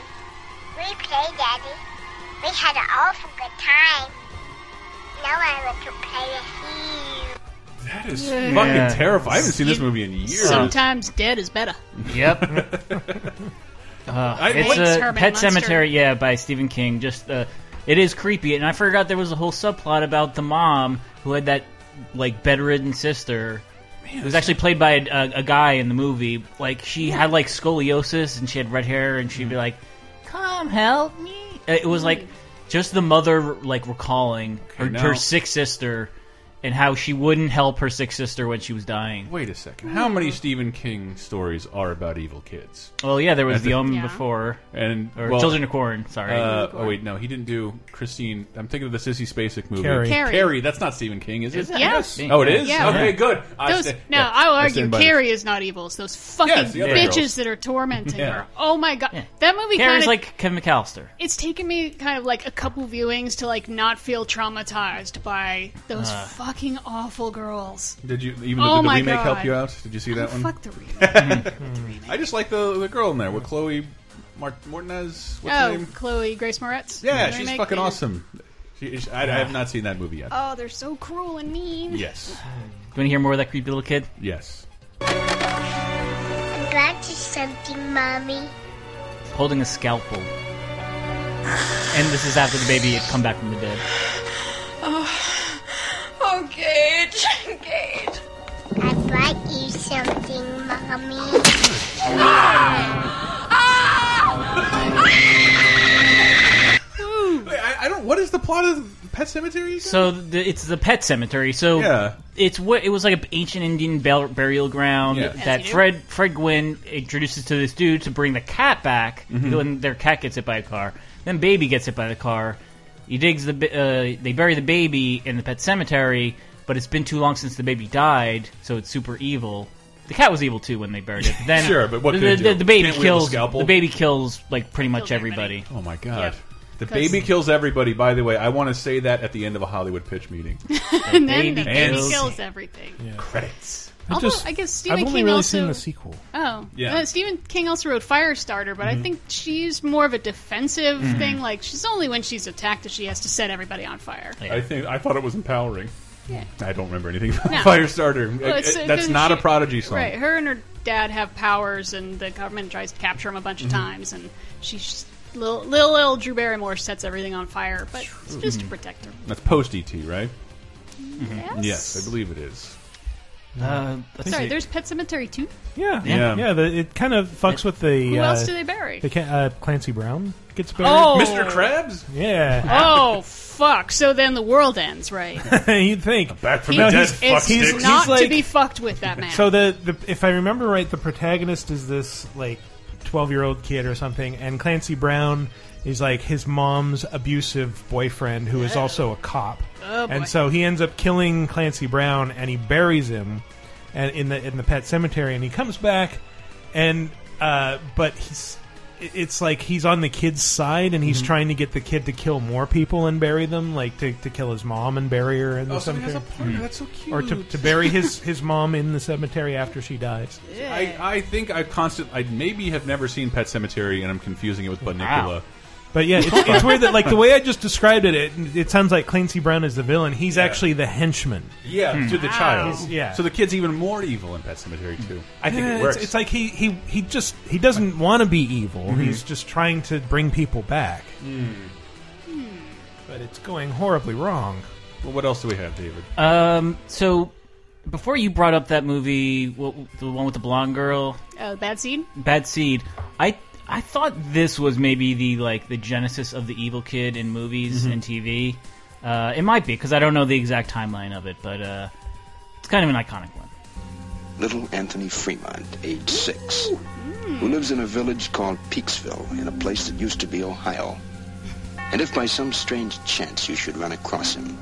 S16: We played, Daddy. We had an awful good time. Now I want to play with you.
S4: that is
S6: Yeah.
S4: fucking terrifying I haven't seen this movie in years
S6: Sometimes dead is better.
S7: Yep. Uh,
S6: I-
S7: it's
S6: Wait,
S7: a
S6: Herman
S7: Pet
S6: Munster.
S7: Cemetery, yeah, by Stephen King. Just uh, it is creepy, and I forgot there was a whole subplot about the mom who had that like bedridden sister. who was actually played by a, a, a guy in the movie. Like she had like scoliosis, and she had red hair, and
S4: Hmm.
S7: she'd be like, "Come help me." Uh, It was like just the mother like recalling her,
S4: Okay,
S7: her
S4: now-
S7: sick sister and how she wouldn't help her sick sister when she was dying.
S4: wait a second how many Stephen King stories are about evil kids
S7: Well, yeah, there was
S4: That's
S7: the
S4: it.
S7: Omen before,
S4: and
S7: or
S4: well,
S7: Children of Corn. Sorry.
S4: uh, oh wait no he didn't do Christine I'm thinking of the Sissy Spacek movie
S7: Carrie. Carrie.
S4: that's not Stephen King is it
S6: Is it? Yes.
S4: oh it is
S6: Yeah.
S4: okay good I
S6: Those,
S4: sta-
S6: no,
S4: yeah,
S6: I will
S4: stand
S6: argue
S4: by this.
S6: Carrie is not evil. It's those fucking
S7: Yeah, it's the other
S6: bitches
S7: girls.
S6: that are tormenting
S7: Yeah.
S6: her. Oh my god, that movie kind
S7: Carrie's
S6: of
S7: like Kevin McAllister.
S6: it's taken me kind of like a couple viewings to like not feel traumatized by those
S4: Uh.
S6: fucking awful girls.
S4: Did you even though did
S6: Oh
S4: the
S6: my
S4: remake
S6: God. Oh,
S4: help you out? Did you see that one?
S6: fuck the remake.
S4: I just like the the girl in there with Chloe Mart- Martinez. What's her
S6: oh,
S4: name?
S6: Chloe Grace Moretz.
S4: Yeah,
S6: The
S4: she's
S6: remake?
S4: fucking
S6: Yeah.
S4: awesome. She, she- I, I have not seen that movie yet.
S6: Oh, they're so cruel and mean.
S4: Yes,
S7: Do you want to hear more of that creepy little kid?
S4: yes.
S16: I'm glad to something, Mommy.
S7: Holding a scalpel. And this is after the baby had come back from the dead.
S16: Oh,
S17: Oh, Gage, Gage.
S16: I brought you something, Mommy.
S4: Wait, I, I don't. What is the plot of Pet Cemetery?
S7: So the, it's the pet cemetery. So
S4: Yeah.
S7: it's what it was like an ancient Indian bur- burial ground
S4: Yeah. As
S7: that
S4: you do.
S7: Fred Fred Gwynn introduces to this dude to bring the cat back
S4: Mhm.
S7: when their cat gets hit by a car. Then baby gets hit by the car. He digs the ba- uh, they bury the baby in the pet cemetery, but it's been too long since the baby died, so it's super evil. The cat was evil too when they
S4: *laughs*
S7: buried it. Then
S4: Sure, but what
S7: the,
S4: can you
S7: the,
S4: do?
S7: the baby
S4: Can't wield a
S7: kills
S4: scalpel?
S7: the baby kills like pretty much everybody.
S4: Oh my god. The
S7: 'Cause-
S4: baby kills everybody. By the way, I want to say that at the end of a Hollywood pitch meeting.
S6: and then the
S4: And-
S6: baby kills everything.
S4: Credits.
S5: I
S6: Although
S5: just-
S6: I guess Stephen
S5: I've only
S6: King
S5: really
S6: also
S5: seen the sequel.
S6: Oh,
S5: Yeah.
S6: Uh, Stephen King also wrote Firestarter, but I
S4: Mm-hmm.
S5: Mhm.
S6: think she's more of a defensive
S4: Mhm.
S6: thing. Like she's only when she's attacked that she has to set everybody on fire.
S4: I think I thought it was empowering.
S6: Yeah.
S4: I don't remember anything about
S6: No.
S4: Firestarter.
S6: Well,
S4: I-
S6: it's-
S4: I-
S6: it
S4: that's
S6: doesn't-
S4: not a
S6: she-
S4: Prodigy song.
S6: Right. Her and her dad have powers, and the government tries to capture them a bunch of
S4: Mhm.
S6: times, and she's. Little, little, little Drew Barrymore sets everything on fire, but it's just to
S4: Mhm.
S6: protect her.
S4: That's post ET, right?
S6: Mhm.
S4: Mm-hmm. Yes, I believe it is.
S7: Uh,
S6: Sorry, there's Pet Cemetery too.
S5: Yeah,
S4: Yeah.
S5: yeah. the, it kind of fucks with the.
S6: Who
S5: uh,
S6: else do they bury?
S5: They can, uh, Clancy Brown gets buried.
S6: Oh. Mr.
S4: Krabs.
S5: Yeah. *laughs*
S6: Oh *laughs* fuck! So then the world
S4: *laughs*
S6: ends, right?
S5: You'd think. Back
S6: He- it's not to be fucked with that man.
S5: So the, the if I remember right, the protagonist is this like twelve year old kid or something, and Clancy Brown is like his mom's abusive boyfriend who is also a cop,
S14: Oh, boy.
S5: and so he ends up killing Clancy Brown and he buries him, and in the in the pet cemetery, and he comes back, and uh, but he's. it- It's like he's on the kid's side, and he's
S4: Mhm.
S5: trying to get the kid to kill more people and bury them, like to, to kill his mom and bury her and
S4: Oh, so he
S5: something.
S4: has a Hmm. partner. That's so
S5: Or to,
S4: cute.
S5: to bury
S4: *laughs*
S5: his his mom in the cemetery after she dies.
S4: I, I think I constant. I maybe have never seen Pet Cemetery, and I'm confusing it with Bunnicula.
S5: But yeah, it's, it's weird that like the way I just described it, it, it sounds like Clancy Brown is the villain. He's actually the henchman.
S4: Yeah, to the child.
S5: He's- yeah.
S4: So the kid's even more evil in Pet Cemetery too. I think
S5: Yeah,
S4: it
S5: it's-
S4: works.
S5: It's, like he, he he just he doesn't want to be evil.
S4: Mhm.
S5: He's just trying to bring people back.
S4: Hmm.
S5: But it's going horribly wrong.
S4: Well, what else do we have, David?
S7: Um, so before you brought up that movie, what, the one with the blonde girl,
S6: Oh, bad seed.
S7: Bad Seed, I I thought this was maybe the like the genesis of the evil kid in movies
S4: Mm-hmm.
S6: Mhm.
S7: and TV. Uh, it might be because I don't know the exact timeline of it, but uh, it's kind of an iconic one.
S18: Little Anthony Fremont, age six, who lives in a village called Peaksville in a place that used to be Ohio. And if by some strange chance you should run across him,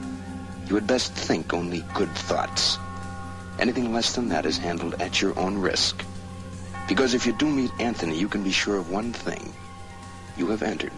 S18: you had best think only good thoughts. Anything less than that is handled at your own risk. Because if you do meet Anthony, you can be sure of one thing. You have entered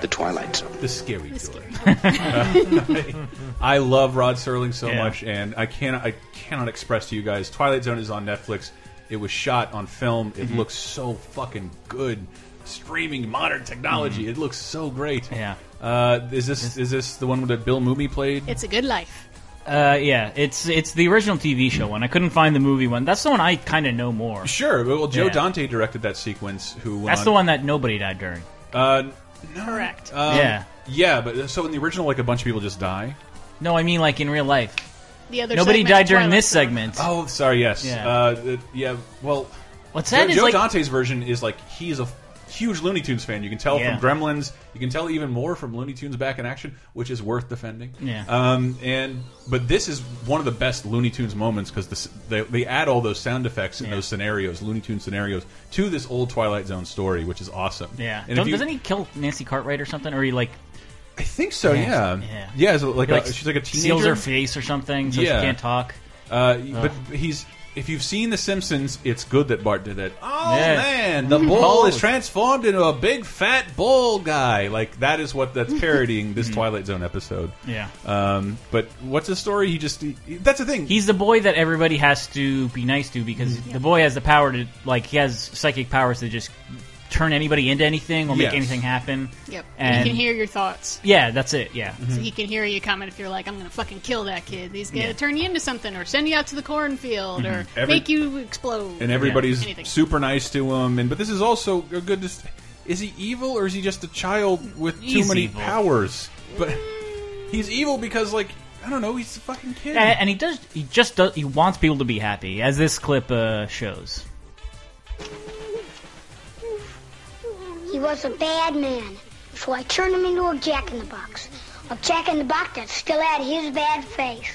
S18: the Twilight Zone.
S4: The scary door.
S18: scary
S4: Uh, *laughs* I love Rod Serling so
S18: Yeah.
S4: much, and I cannot, I cannot express to you guys. Twilight Zone is on Netflix. It was shot on film. It
S18: Mm-hmm.
S7: Mhm.
S4: looks so fucking good. Streaming modern technology. It looks so great.
S7: Mm-hmm. Yeah.
S4: Uh, is this is this the one that Bill Mooney played?
S6: It's a good
S4: *gasps*
S6: life.
S7: Uh, yeah, it's it's the original TV show one. I couldn't find the movie one. That's the one I kind of know more.
S4: Sure. Well, Joe
S7: Yeah.
S4: Dante directed that sequence. Who went
S7: That's
S4: on-
S7: the one that nobody died during.
S4: Uh,
S6: Correct.
S4: um,
S7: Yeah.
S4: Yeah, but so in the original, like a bunch of people just die.
S7: No, I mean like in real life.
S6: The other
S7: nobody
S6: segment,
S7: died during
S6: Twilight
S7: this
S6: Zone.
S7: segment.
S4: Oh, sorry. Yes.
S7: Yeah.
S4: Uh, th- yeah. Well,
S7: What's
S4: Joe,
S7: sad is,
S4: Joe
S7: like-
S4: Dante's version is like he's a huge Looney Tunes fan. You can tell
S7: Yeah.
S4: from Gremlins. You can tell even more from Looney Tunes Back in Action, which is worth defending.
S7: Yeah.
S4: Um. And but this is one of the best Looney Tunes moments because they they add all those sound effects and those scenarios, Looney Tunes scenarios, to this old Twilight Zone story, which is awesome.
S7: Yeah.
S4: And if
S7: Don't-
S4: you-
S7: doesn't he kill Nancy Cartwright or something? Or he like?
S4: I think so. Yeah.
S7: Yeah.
S4: Yeah. so like,
S7: He,
S4: a, she's like a teenager.
S7: Seals her face or something, so she can't talk.
S4: Uh, but he's if you've seen The Simpsons, it's good that Bart did that. Oh
S7: Yeah. Mm-hmm.
S4: man, the ball is transformed into a big fat ball guy. Like that is what that's parodying this Twilight Zone episode.
S7: Mm-hmm. Yeah.
S4: Um, but what's the story? He just he, that's the thing.
S7: Uh, He's the boy that everybody has to be nice to because the boy has the power to like he has psychic powers to just turn anybody into anything or
S6: Yes.
S7: make anything happen.
S6: Yep. And,
S7: And
S6: he can hear your thoughts.
S7: yeah, that's it. Yeah.
S4: Mm-hmm.
S6: So he can hear you coming if you're like, I'm going to fucking kill that kid. He's going to
S7: Yeah.
S6: turn you into something or send you out to the cornfield or
S4: Mhm. Every-
S6: make you explode.
S4: and everybody's
S6: Yeah, anything.
S4: super nice to him. And but this is also a good. dis- Is he evil or is he just a child with too
S7: He's
S4: many
S7: evil.
S4: powers? But he's evil because like I don't know. He's a fucking kid.
S7: Yeah, and he does. He just does. He wants people to be happy, as this clip uh, shows.
S19: He was a bad man, so I turned him into a jack in the box. A jack in the box that still had his bad face.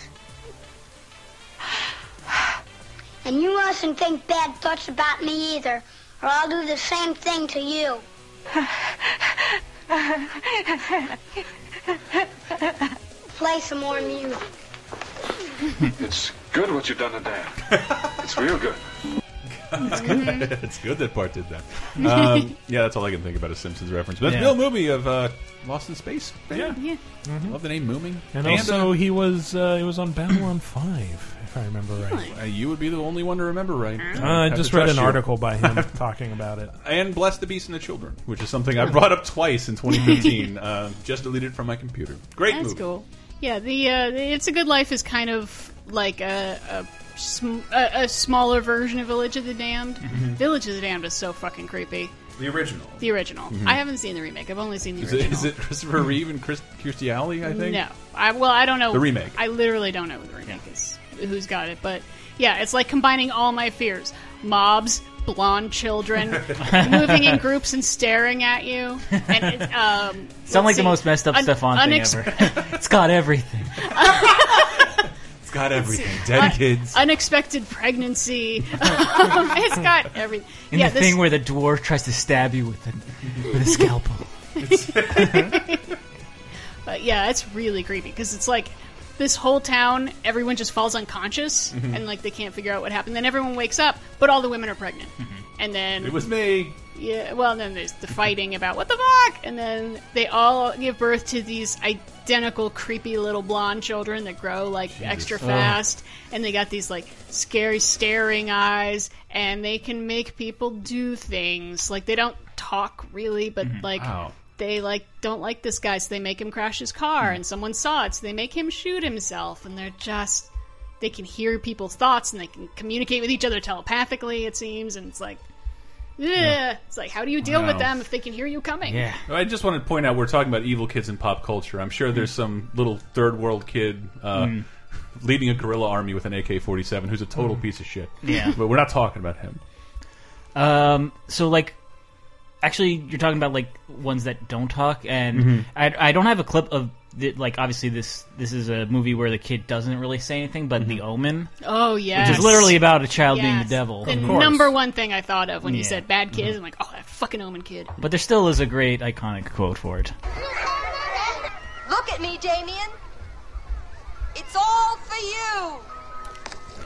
S19: And you mustn't think bad thoughts about me either, or I'll do the same thing to you. Play some more music.
S20: It's good what you've done today. It's real good.
S4: It's good. *laughs* it's good that Bart did
S5: *laughs*
S4: that. Um, yeah, that's all I can think about is Simpsons reference. But that's
S5: Yeah.
S4: Bill Mooney of uh, Lost in Space. Yeah,
S6: Yeah.
S4: love the name Mooming.
S5: And
S4: uh,
S5: also, he was uh, he was on Babylon Five. If if I remember right.
S4: Uh, you would be the only one to remember, right?
S5: Uh, I just read an article
S4: *laughs*
S5: by him talking about it.
S4: And Bless the Beast and the Children, which is something I brought up twice in
S5: *laughs*
S4: 2015. uh, just deleted from my computer. Great
S6: That's
S4: movie.
S6: cool. Yeah, the uh, the It's a Good Life is kind of like a a, sm- a, a smaller version of Village of the Damned.
S7: Mm-hmm.
S4: Mhm.
S6: Village of the Damned is so fucking creepy.
S4: The original.
S6: The original.
S7: Mm-hmm.
S4: Mhm.
S6: I haven't seen the remake. I've only seen the
S4: Is it,
S6: original.
S4: is it Christopher Reeve and Chris, Kirstie Alley? I think.
S6: No, I well, I don't know
S4: The remake.
S6: I literally don't know who the remake is. Who's got it? But yeah, it's like combining all my fears: mobs,
S4: *laughs*
S6: blonde children, moving in groups and staring at you, and
S4: *laughs*
S6: it, um,
S7: Sound
S6: let's
S7: like the
S6: see,
S7: most messed up
S6: un-
S7: Stefan
S6: unex-
S7: thing ever. *laughs* it's got everything.
S4: It's got
S6: see.
S4: everything. Dead
S6: Uh,
S4: kids.
S6: unexpected
S4: *laughs*
S6: pregnancy. *laughs* Um, it's got everything.
S7: And
S6: yeah,
S7: the thing where the dwarf tries to stab you with a, with a scalpel.
S6: *laughs* But yeah, it's really creepy because it's like this whole town, everyone just falls unconscious
S4: Mhm.
S6: and like they can't figure out what happened. Then everyone wakes up, but all the women are pregnant. And then
S4: Mm-hmm. It was me.
S6: Yeah, well, then there's the fighting about what the fuck, and then they all give birth to these identical creepy little blonde children that grow like extra
S7: Ugh.
S6: fast, and they got these like scary staring eyes, and they can make people do things. Like they don't talk really, but
S7: Mhm.
S6: like
S7: Wow.
S6: they like don't like this guy, so they make him crash his car, and someone saw it, so they make him shoot himself, and they're just they can hear people's thoughts and they can communicate with each other telepathically. It seems, and it's like. Ugh. It's like, how do you deal
S4: Wow.
S6: with them if they can hear you coming?
S4: I just wanted to point out we're talking about evil kids in pop culture. I'm sure there's some little third world kid uh,
S7: Mm.
S4: leading a guerrilla army with an AK-47 who's a total
S7: Mm.
S4: piece of shit.
S7: Yeah.
S4: but we're not talking about him.
S7: Um, so like, actually, you're talking about like ones that don't talk, and
S4: Mhm.
S7: I, I don't have a clip of the, like obviously this this is a movie where the kid doesn't really say anything, but The Omen.
S6: Oh, yes.
S7: which is literally about a child being
S6: Yes.
S7: the devil.
S6: The number one thing I thought of when you
S7: Yeah. Mm-hmm.
S6: said bad kids, I'm like, oh, that fucking omen kid.
S7: But there still is a great iconic quote for it.
S21: Look at me, Damien. It's all for you.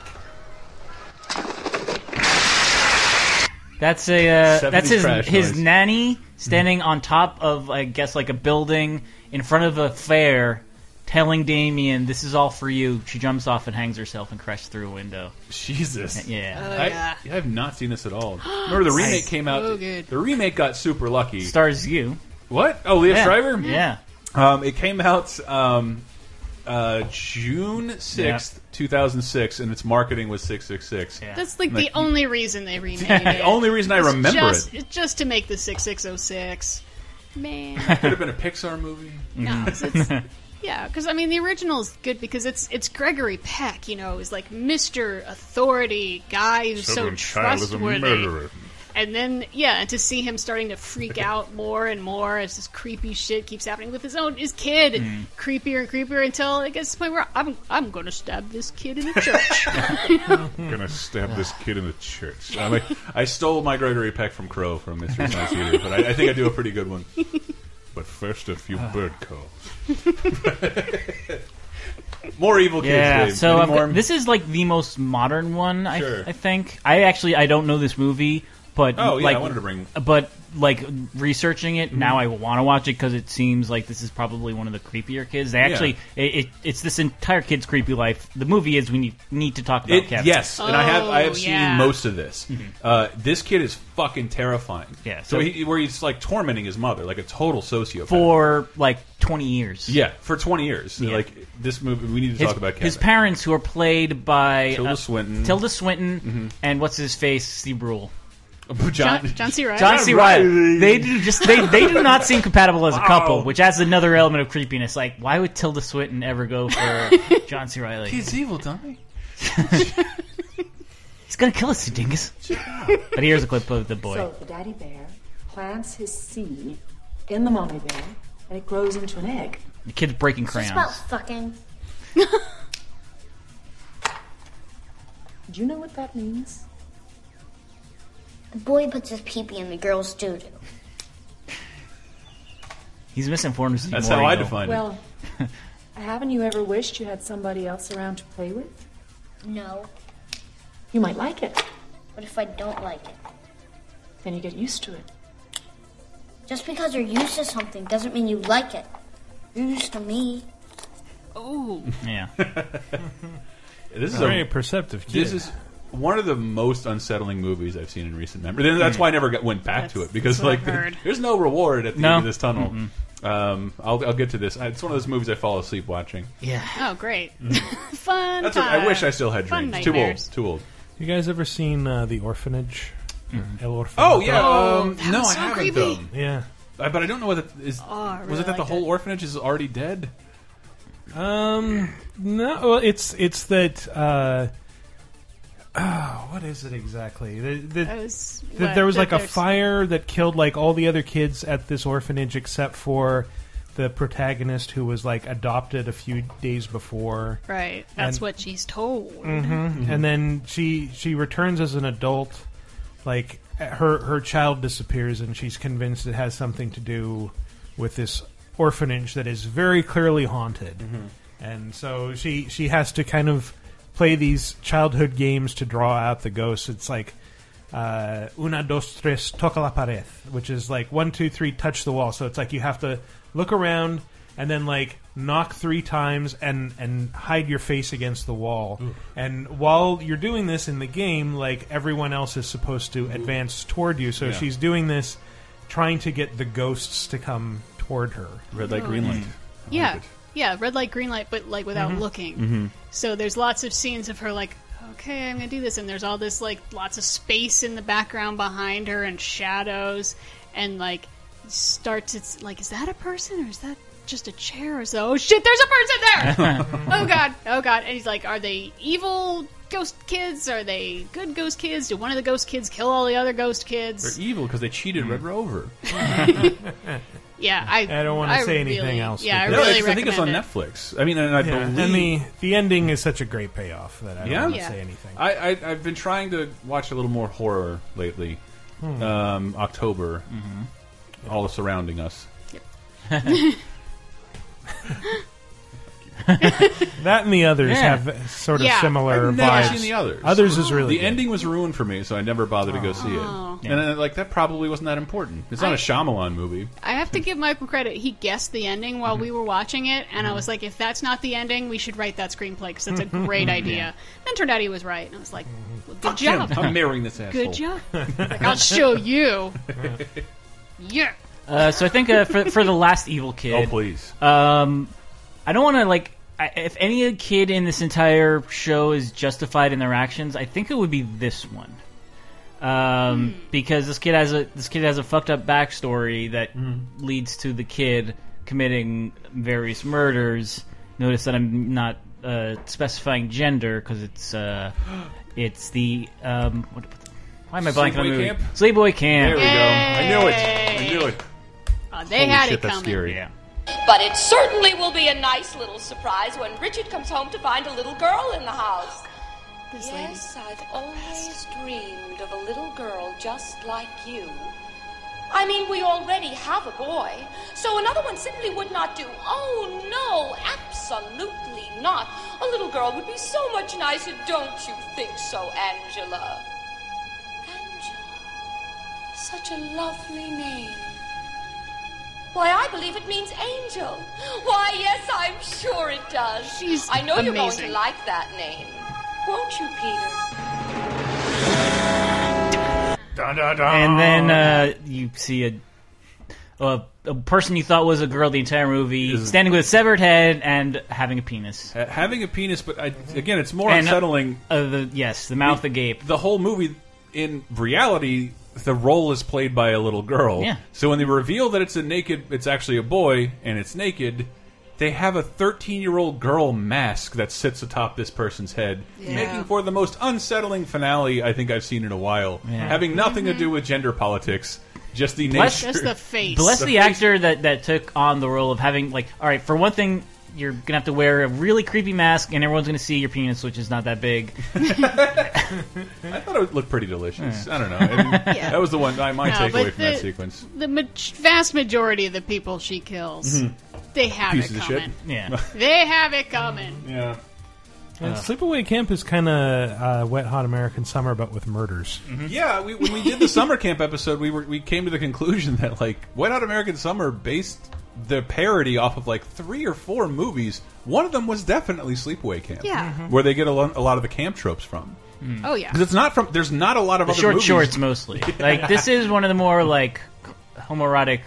S7: That's a uh,
S4: 70s
S7: that's his
S4: crash
S7: his
S4: noise.
S7: nanny standing on top of I guess like a building in front of a fair, telling Damien, "This is all for you." She jumps off and hangs herself and crashes through a window.
S4: Jesus.
S7: Yeah.
S4: I, I have not seen this at
S7: *gasps*
S4: all. Remember the remake came out.
S7: So good.
S4: The remake got super lucky.
S7: Stars you.
S4: What? Oh, Leah
S7: Yeah.
S4: Shriver.
S7: Yeah.
S4: Um, it came out um, uh, June sixth, two thousand six, and its marketing was six six six.
S6: That's like the only reason
S7: *laughs*
S6: they remade it.
S4: *laughs* The only reason I
S6: It's
S4: remember
S6: just,
S4: it.
S6: it's Just to make the 6606. Man.
S4: could have been a Pixar movie.
S6: No, it's- it's- Yeah, because I mean the original is good because it's it's Gregory Peck, you know, is like Mister Authority guy who's so
S14: Southern child is a
S6: trustworthy.
S14: murderer.
S6: And then yeah, and to see him starting to freak out more and more as this creepy shit keeps happening with his own his kid,
S7: Mm.
S6: creepier and creepier until it gets to the point where I'm I'm going to stab this kid in the church.
S4: I'm
S7: *laughs*
S4: gonna stab this kid in the church. I, I stole my Gregory Peck from Crow from Mystery Science Theater, but I, I think I do a pretty good one. But first, a
S7: Ah.
S4: few bird calls. *laughs* More evil kids.
S7: Yeah,
S4: Dave.
S7: so
S4: Any
S7: I've got-
S4: more?
S7: this is like the most modern one. I,
S4: Sure.
S7: I think. I actually I don't know this movie, but
S4: Oh, yeah, I
S7: like,
S4: wanted to bring-
S7: But like researching it
S4: Mhm.
S7: now, I want to watch it because it seems like this is probably one of the creepier kids. They
S4: Yeah.
S7: actually it, it, it's this entire kid's creepy life. The movie is when you need to talk about
S4: It-
S7: Kevin.
S4: yes, and I have I have
S7: Oh,
S4: seen
S7: yeah.
S4: most of this. Uh, this kid is fucking terrifying. Yeah, so,
S7: so-
S4: he, where he's like tormenting his mother, like a total sociopath.
S7: for like twenty years.
S4: yeah, for twenty years. Like this movie, we need to
S7: His,
S4: talk about Kevin.
S7: his parents who are played by
S4: Tilda
S7: uh,
S4: Swinton. *laughs* Mm-hmm.
S7: Tilda Swinton, and what's his face, Steve Brule.
S6: John- John C. Reilly.
S7: John C.
S6: John Reilly.
S7: Reilly. They do just they, they do not seem compatible as a couple, which adds another element of creepiness. Like, why would Tilda Swinton ever go for John C. Riley?
S4: He's evil, Tommy.
S7: *laughs* He's gonna kill us, you dingus. but here's a clip of the boy.
S22: So the daddy bear plants his seed in the mommy bear, and it grows into an egg.
S7: the kid's breaking crayons.
S22: fucking.
S19: Do you know what that means? The boy puts his peepee in the girl's doo doo.
S7: He's misinformed. Steve
S4: That's how I
S7: Morrigo.
S4: define
S22: Well, haven't you ever wished you had somebody else around to play with?
S19: No,
S22: You might like it.
S19: but if I don't like it?
S22: Then you get used to it.
S19: Just because you're used to something doesn't mean you like it. You're used to me.
S6: Oh.
S7: Yeah.
S4: This is
S5: Very
S4: a,
S5: perceptive
S4: This
S5: kid.
S4: is one of the most unsettling movies I've seen in recent memory. Then that's why I never got, went back to it because
S7: that's what
S4: like
S7: I've heard.
S4: there's no reward at the
S7: No.
S4: end of this tunnel. Um, I'll, I'll get to this. It's one of those movies I fall asleep watching.
S7: Yeah.
S6: Oh, great.
S4: Mhm.
S6: *laughs* Fun.
S4: That's what, I
S6: time.
S4: wish I still had
S6: Fun
S4: dreams. Too old.
S6: nightmares.
S4: Too old.
S5: You guys ever seen uh, The Orphanage? El Orphanage.
S4: Oh yeah.
S5: Oh,
S4: um,
S5: that
S4: no,
S5: was
S4: I
S5: so
S4: haven't
S5: creepy.
S4: though.
S5: Yeah.
S4: I, but I don't know whether is was it that the whole orphanage is already dead?
S5: Um, no, well, it's it's that. Uh, *sighs* oh, what is it exactly? The, the,
S6: That was
S5: that
S6: what-
S5: there was
S6: that
S5: like a
S6: there's-
S5: fire that killed like all the other kids at this orphanage except for the protagonist who was like adopted a few days before.
S6: Right. That's
S5: And-
S6: what she's told.
S5: hmm And then she she returns as an adult. Like her her child disappears, and she's convinced it has something to do with this orphanage that is very clearly haunted. And so she she has to kind of play these childhood games to draw out the ghosts. It's like uh, una dos tres toca la pared, which is like one two three touch the wall. So it's like you have to look around and then like knock three times and and hide your face against the wall. And while you're doing this in the game, like everyone else is supposed to advance toward you. So
S4: Yeah.
S5: she's doing this, trying to get the ghosts to come toward her.
S4: Red light, green light.
S6: Yeah. Yeah. Red light, green light, but like without
S5: Mhm.
S6: looking.
S4: Mhm.
S6: So there's lots of scenes of her like, okay, I'm gonna do this, and there's all this like lots of space in the background behind her and shadows, and like starts it's like, is that a person or is that just a chair or so? Oh shit, there's a person there! oh god, oh god, and he's like, are they evil? Ghost kids? Are they good ghost kids? Do one of the ghost kids kill all the other ghost kids?
S4: They're evil because they cheated Red Rover.
S6: Yeah, I.
S5: I don't want to say anything
S6: really-
S5: else.
S6: Yeah, I
S4: no,
S6: really
S4: it's- I think it's on
S6: recommend it.
S4: Netflix. I mean, and I
S5: Yeah,
S4: believe
S5: and the the ending is such a great payoff that I don't
S4: yeah.
S5: want to say anything.
S4: I, I I've been trying to watch a little more horror lately.
S5: Hmm.
S4: Um, October, all surrounding us.
S5: That and the others
S4: Yeah.
S5: have sort of
S4: Yeah.
S5: similar
S4: I've never
S5: vibes.
S4: seen the others.
S5: Others is really
S4: the ending was ruined for me, so I never bothered to go see it.
S6: Oh.
S4: And uh, like that probably wasn't that important. It's not
S6: I-
S4: a Shyamalan movie.
S6: I have to give Michael credit. He guessed the ending while we were watching it, and I
S4: Mm-hmm.
S6: was like, if that's not the ending, we should write that screenplay
S4: *laughs*
S6: because that's a great
S4: Yeah. Mm-hmm.
S6: idea. Then turned out he was right, and I was like, well, good
S4: Fuck
S6: job.
S4: him. I'm marrying this asshole.
S6: Good job. like, I'll show you. Yeah.
S7: Uh, so I think uh, for for the last evil kid.
S4: Oh, please.
S7: Um, I don't want to like. I, if any kid in this entire show is justified in their actions, I think it would be this one. Um,
S4: Hmm.
S7: because this kid has a this kid has a fucked up backstory that leads to the kid committing various murders. Notice that I'm not uh, specifying gender because
S4: *gasps*
S7: it's uh, it's the um. What, why am I blanking on
S4: Sleepaway
S7: the movie?
S4: Camp?
S7: Sleepaway
S4: There
S7: Camp.
S4: we go. I knew it. I knew it.
S6: Uh,
S17: Oh, they had it coming.
S7: Yeah.
S17: But it certainly will be a nice little surprise when Richard comes home to find a little girl in the house.
S22: Yes, I've always dreamed of a little girl just like you.
S17: I mean, we already have a boy, so another one simply would not do. Oh, no, absolutely not. A little girl would be so much nicer, don't you think so, Angela?
S22: Such a lovely name.
S17: Why, I believe it means angel. Why, yes, I'm sure it does. She's I know you're going
S22: amazing.
S17: to like that name. Won't you, Peter?
S7: And then
S5: Oh.
S7: uh, you see a, a a person you thought was a girl the entire movie standing with a severed head and having a penis. Uh,
S4: Ha- Uh, Having a penis, but I, again, it's more
S7: And, uh,
S4: unsettling.
S7: Uh, the, yes, the mouth agape.
S4: The whole movie, in reality, the role is played by a little girl.
S7: Yeah.
S4: So when they reveal that it's a naked, it's actually a boy and it's naked, they have a 13 year old girl mask that sits atop this person's head,
S3: Yeah.
S4: making for the most unsettling finale I think I've seen in a while, having nothing to do with gender politics, just the
S7: Bless-
S4: nature.
S7: Bless the,
S4: The face.
S7: actor that, that took on the role of having like, all right, for one thing, you're gonna have to wear a really creepy mask, and everyone's gonna see your penis, which is not that big.
S4: *laughs* I thought it would look pretty delicious. I don't know. I mean, That was the one my, my
S6: No,
S4: takeaway
S6: but
S4: from
S6: the-
S4: that sequence.
S6: The ma- vast majority of the people she kills,
S4: Mhm.
S6: they have
S4: Pieces
S6: it
S4: of
S6: coming.
S4: shit.
S7: Yeah.
S6: They have it coming.
S4: yeah.
S5: And Sleepaway Camp is kind of uh, wet, hot American summer, but with murders.
S4: Mm-hmm. Yeah, we, *laughs* when we did the summer camp episode, we were we came to the conclusion that like Wet Hot American Summer based the parody off of like three or four movies. One of them was definitely Sleepaway Camp,
S6: Yeah. Mhm.
S4: where they get a lot, a lot of the camp tropes from.
S6: Oh, yeah.
S4: 'Cause it's not from. There's not a lot of
S7: The
S4: other
S7: short
S4: movies.
S7: shorts mostly. Like this is one of the more like homoerotic.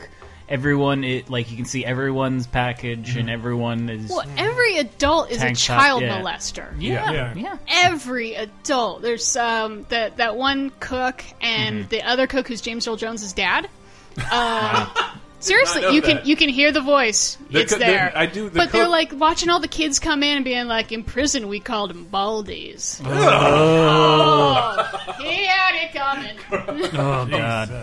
S7: Everyone, it, like you can see everyone's package, and everyone is.
S6: Well, every adult is
S7: Tank
S6: a
S7: top,
S6: child
S7: yeah.
S6: molester.
S7: Yeah, Yeah. yeah.
S6: Every adult. There's um that that one cook and
S4: Mm-hmm.
S7: Mhm.
S6: the other cook who's James Earl
S4: *laughs*
S6: Jones' dad. Uh,
S4: know
S6: seriously, you can
S4: that.
S6: you can hear the voice.
S4: The
S6: it's
S4: co- the-
S6: there.
S4: I do- the
S6: but they're
S4: cook-
S6: like watching all the kids come in and being like, in prison we called him
S4: *laughs*
S6: Baldies. Oh, he had it coming.
S7: Uh,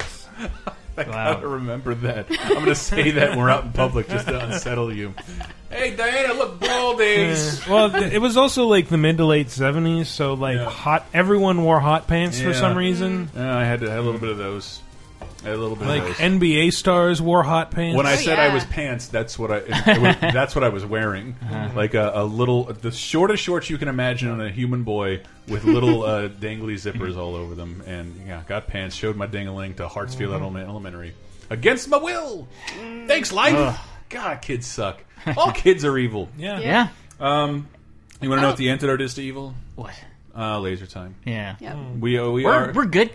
S4: *laughs* I gotta remember that. I'm gonna say that when we're out in public just to unsettle you. Hey, Diana, look, baldies.
S5: Yeah. well, th- it was also like the mid to late seventies, so like hot. Everyone wore hot pants for
S4: Yeah.
S5: some reason.
S4: Yeah, I had to have a little bit of those. I had a little bit
S5: Like
S4: of those.
S5: NBA stars wore hot pants.
S6: Oh,
S4: When I said I was pants, that's what I
S6: *laughs*
S4: it was- that's what I was wearing.
S6: Uh-huh.
S4: Like a, a little the shortest shorts you can imagine on a human boy with little
S6: *laughs*
S4: uh, dangly zippers all over them. And yeah, got pants. Showed my dingling to Hartsfield
S6: Uh-huh.
S4: Elemen- Elementary against my will. Thanks, life.
S7: Ugh.
S4: God, kids
S6: *laughs*
S4: suck. All kids are evil.
S7: Yeah. Yeah.
S4: Um, you want to know
S6: Oh.
S4: what the antidote is to evil? What? Uh, laser time.
S7: Yeah. Yep.
S4: We uh, we
S7: We're-
S4: are
S7: we're good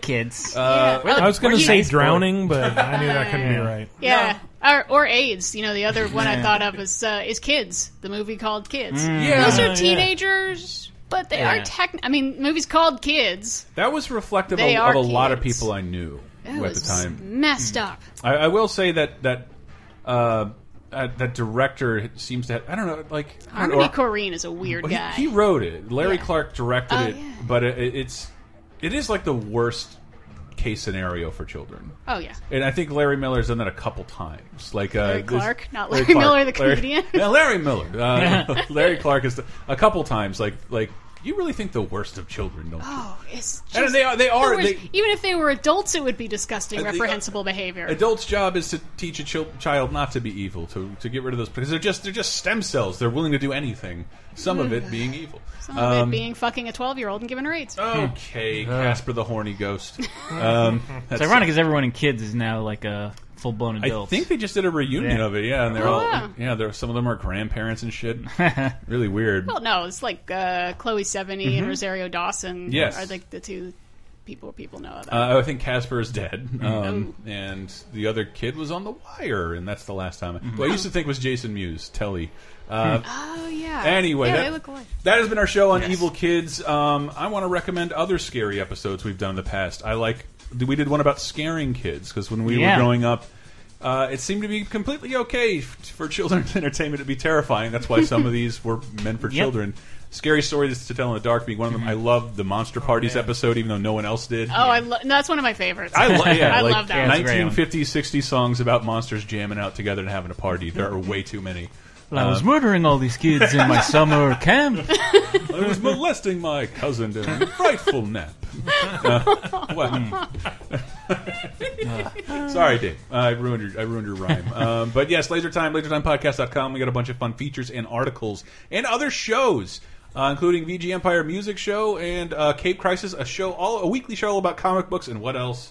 S4: *laughs*
S7: kids.
S4: Uh,
S5: I was going
S7: Were
S5: to
S7: you-
S5: say
S7: Nice boy.
S5: drowning,
S7: *laughs*
S5: but I knew that couldn't
S7: Yeah.
S5: be right.
S6: Yeah, or, or AIDS. You know, the other one I
S5: Yeah.
S6: thought of is uh, is Kids, the movie called Kids.
S4: Mm. Yeah.
S6: Those
S4: Oh,
S6: are
S4: yeah.
S6: teenagers, but they
S4: Yeah.
S6: are tech. I mean, movies called Kids.
S4: That was reflective of,
S6: They
S4: of
S6: are
S4: a lot of
S6: kids.
S4: people I knew
S6: That
S4: at the
S6: was
S4: time. *clears throat*
S6: messed up.
S4: I, I will say that that uh, uh, that director seems to have, I don't know like I don't
S6: Harmony
S4: know,
S6: Korine is a weird
S4: Well, he-
S6: guy.
S4: He, wrote it. Larry
S6: Yeah.
S4: Clark directed
S6: Oh,
S4: it,
S6: yeah.
S4: but it, it's it is like the worst case scenario for children.
S6: Oh, yeah.
S4: And I think Larry Miller's done that a couple times. Like uh,
S6: Larry
S4: this-
S6: Clark? Not Larry Miller, the comedian?
S4: Larry, *laughs* Yeah, Larry Miller. Uh, Larry Clark is a couple times. Like like you really think the worst of children, don't you?
S6: Oh, it's just,
S4: And they are- they are-
S6: there was-
S4: they-
S6: even if they were adults, it would be disgusting,
S4: And they-
S6: reprehensible behavior.
S4: Adults' job is to teach a chil child not to be evil, to, to get rid of those because they're just they're just stem cells. They're willing to do anything. Some of it being evil.
S6: Mm. Some of it
S4: Um,
S6: Oh,
S4: Uh,
S6: being fucking a twelve-year-old and giving her AIDS.
S4: okay, Casper the horny
S6: *laughs*
S4: ghost. Um,
S7: it's
S4: that's-
S7: ironic because everyone in kids is now like a full blown
S4: I
S7: adult.
S4: think they just did a reunion
S7: Yeah.
S4: of it. Yeah, and they're
S6: Oh,
S4: all
S6: wow.
S4: yeah. There some of them are grandparents and
S7: *laughs*
S4: shit. really weird.
S6: Well, no, it's like uh, Chloe Sevigny and
S4: Mhm.
S6: Rosario Dawson
S4: Yes.
S6: are like the two people people know about.
S4: Uh, I think Casper is dead,
S6: *laughs* Oh.
S4: um, and the other kid was on the wire, and that's the last time.
S7: Mm-hmm.
S4: Who I used to think was Jason Mewes, Telly.
S7: Hmm.
S4: Uh,
S6: oh yeah.
S4: Anyway,
S6: yeah,
S4: that,
S6: they look alike.
S4: that has been our show on Evil Kids. Um, I want to recommend other scary episodes we've done in the past. I like we did one about scaring kids because when we
S7: Yeah.
S4: were growing up, uh, it seemed to be completely okay f- for children's *laughs* entertainment to be terrifying. That's why some of these were meant for
S7: Yep.
S4: children. Scary stories to tell in the dark being one of them. I love the monster parties episode, even though no one else did.
S6: Oh, I lo- no, that's one of my favorites. *laughs*
S4: I, lo- yeah,
S6: I
S4: like
S6: love that. one.
S4: 1950s, 60s songs about monsters jamming out together and having a party. There are way too many.
S7: I was
S4: Um,
S7: murdering all these kids in *laughs* my summer camp.
S4: I was molesting my cousin in a frightful nap. Uh, well. Sorry, Dave. I ruined your I ruined your rhyme. Um, but yes, Laser Time, LaserTimePodcast.com. We got a bunch of fun features and articles and other shows. Uh, including VG Empire Music Show and uh, Cape Crisis, a show all a weekly show about comic books and what else?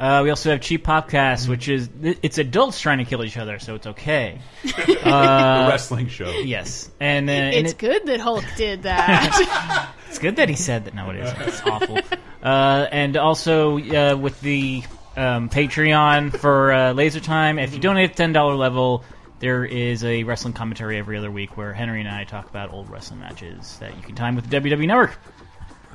S7: Uh, we also have Cheap Popcast, which is it's adults trying to kill each other, so it's okay. Uh,
S4: A wrestling show.
S7: Yes, and, uh, and
S6: it's
S7: it-
S6: good that Hulk
S4: *laughs*
S6: did that.
S7: it's good that he said that. No, it isn't. It's awful. Uh, and also uh, with the um, Patreon for uh, Laser Time, if you donate at ten dollar level, there is a wrestling commentary every other week where Henry and I talk about old wrestling matches that you can time with the WWE Network.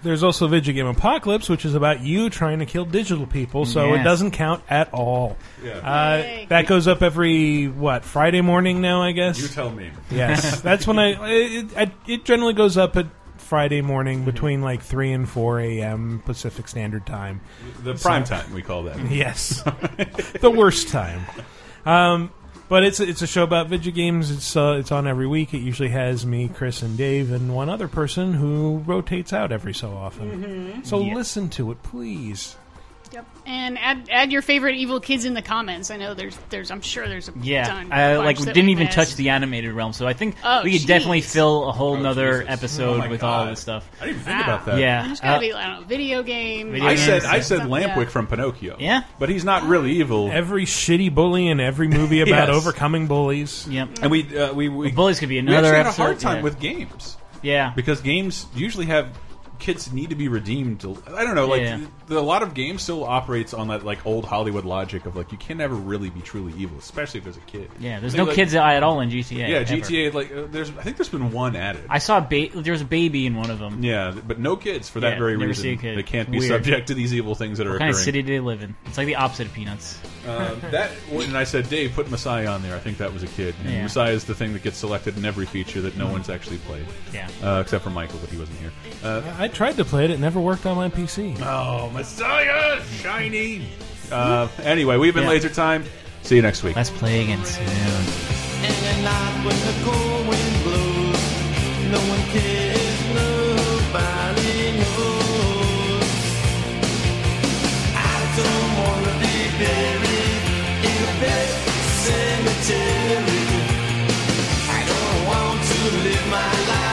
S5: There's also Video Game Apocalypse, which is about you trying to kill digital people, so
S7: Yeah.
S5: it doesn't count at all.
S4: Yeah.
S5: Uh, that goes up every what Friday morning now, I guess.
S4: You tell me.
S5: *laughs* Yes, that's when I it, I. it generally goes up at Friday
S4: Mm-hmm.
S5: morning between like three and four a.m. Pacific Standard Time.
S4: The
S5: So-
S4: prime time we call that.
S5: Yes, *laughs* the worst time. Um, but it's it's a show about video games. It's uh, it's on every week. It usually has me, Chris, and Dave, and one other person who rotates out every so often. So listen to it, please.
S6: Yep. And add add your favorite evil kids in the comments. I know there's there's I'm sure there's a
S7: Yeah,
S6: ton.
S7: I,
S6: bunch
S7: Uh, like we
S6: that
S7: didn't even
S6: missed.
S7: touch the animated realm, so I think
S6: Oh,
S7: we could definitely
S6: jeez.
S7: fill a whole
S6: Oh,
S7: nother
S6: Jesus.
S7: episode
S4: Oh, my
S7: with all
S4: God.
S7: this stuff.
S4: I didn't even think about that.
S7: Yeah,
S6: There's gotta
S7: uh,
S6: be I don't know video games.
S4: I said I said
S6: stuff,
S4: Lampwick
S6: yeah.
S4: from Pinocchio.
S7: Yeah,
S4: but he's not really evil.
S5: Every shitty bully in every movie
S4: Yes.
S5: about overcoming bullies.
S7: Yep.
S4: And we uh, we, we
S7: bullies could be
S4: We
S7: another
S4: actually had a
S7: episode,
S4: hard time
S7: yeah.
S4: with games.
S7: Yeah,
S4: because games usually have kids need to be redeemed. to- I don't know, like
S7: Yeah.
S4: the, a lot of games still operates on that like old Hollywood logic of like you can never really be truly evil, especially if there's a kid.
S7: Yeah, there's
S4: Like-
S7: no
S4: like-
S7: kids at all in GTA.
S4: Yeah,
S7: ever.
S4: GTA like uh, there's I think there's been one added.
S7: I saw a ba- there was a baby in one of them.
S4: Yeah, but no kids for that
S7: Yeah,
S4: very
S7: never
S4: reason.
S7: see a kid.
S4: They can't
S7: It's
S4: be
S7: weird.
S4: subject to these evil things that are
S7: What
S4: occurring.
S7: kind of city do they live in? It's like the opposite of Peanuts.
S4: Uh, that and I said, Dave, put Messiah on there. I think that was a kid. And
S7: Yeah. Mm-hmm.
S4: Messiah is the thing that gets selected in every feature that no one's actually played.
S7: Yeah.
S4: Uh, except for Michael, but he wasn't here. Uh,
S5: I tried to play it; it never worked on my PC.
S4: Oh, Messiah, shiny. uh, anyway, we've been
S7: Yeah.
S4: Laser Time. See you next week. Let's
S7: play again soon.
S1: And at night when the cold wind blows, no one cares, nobody knows. I don't wanna be buried in a pet cemetery. I don't want to live my life.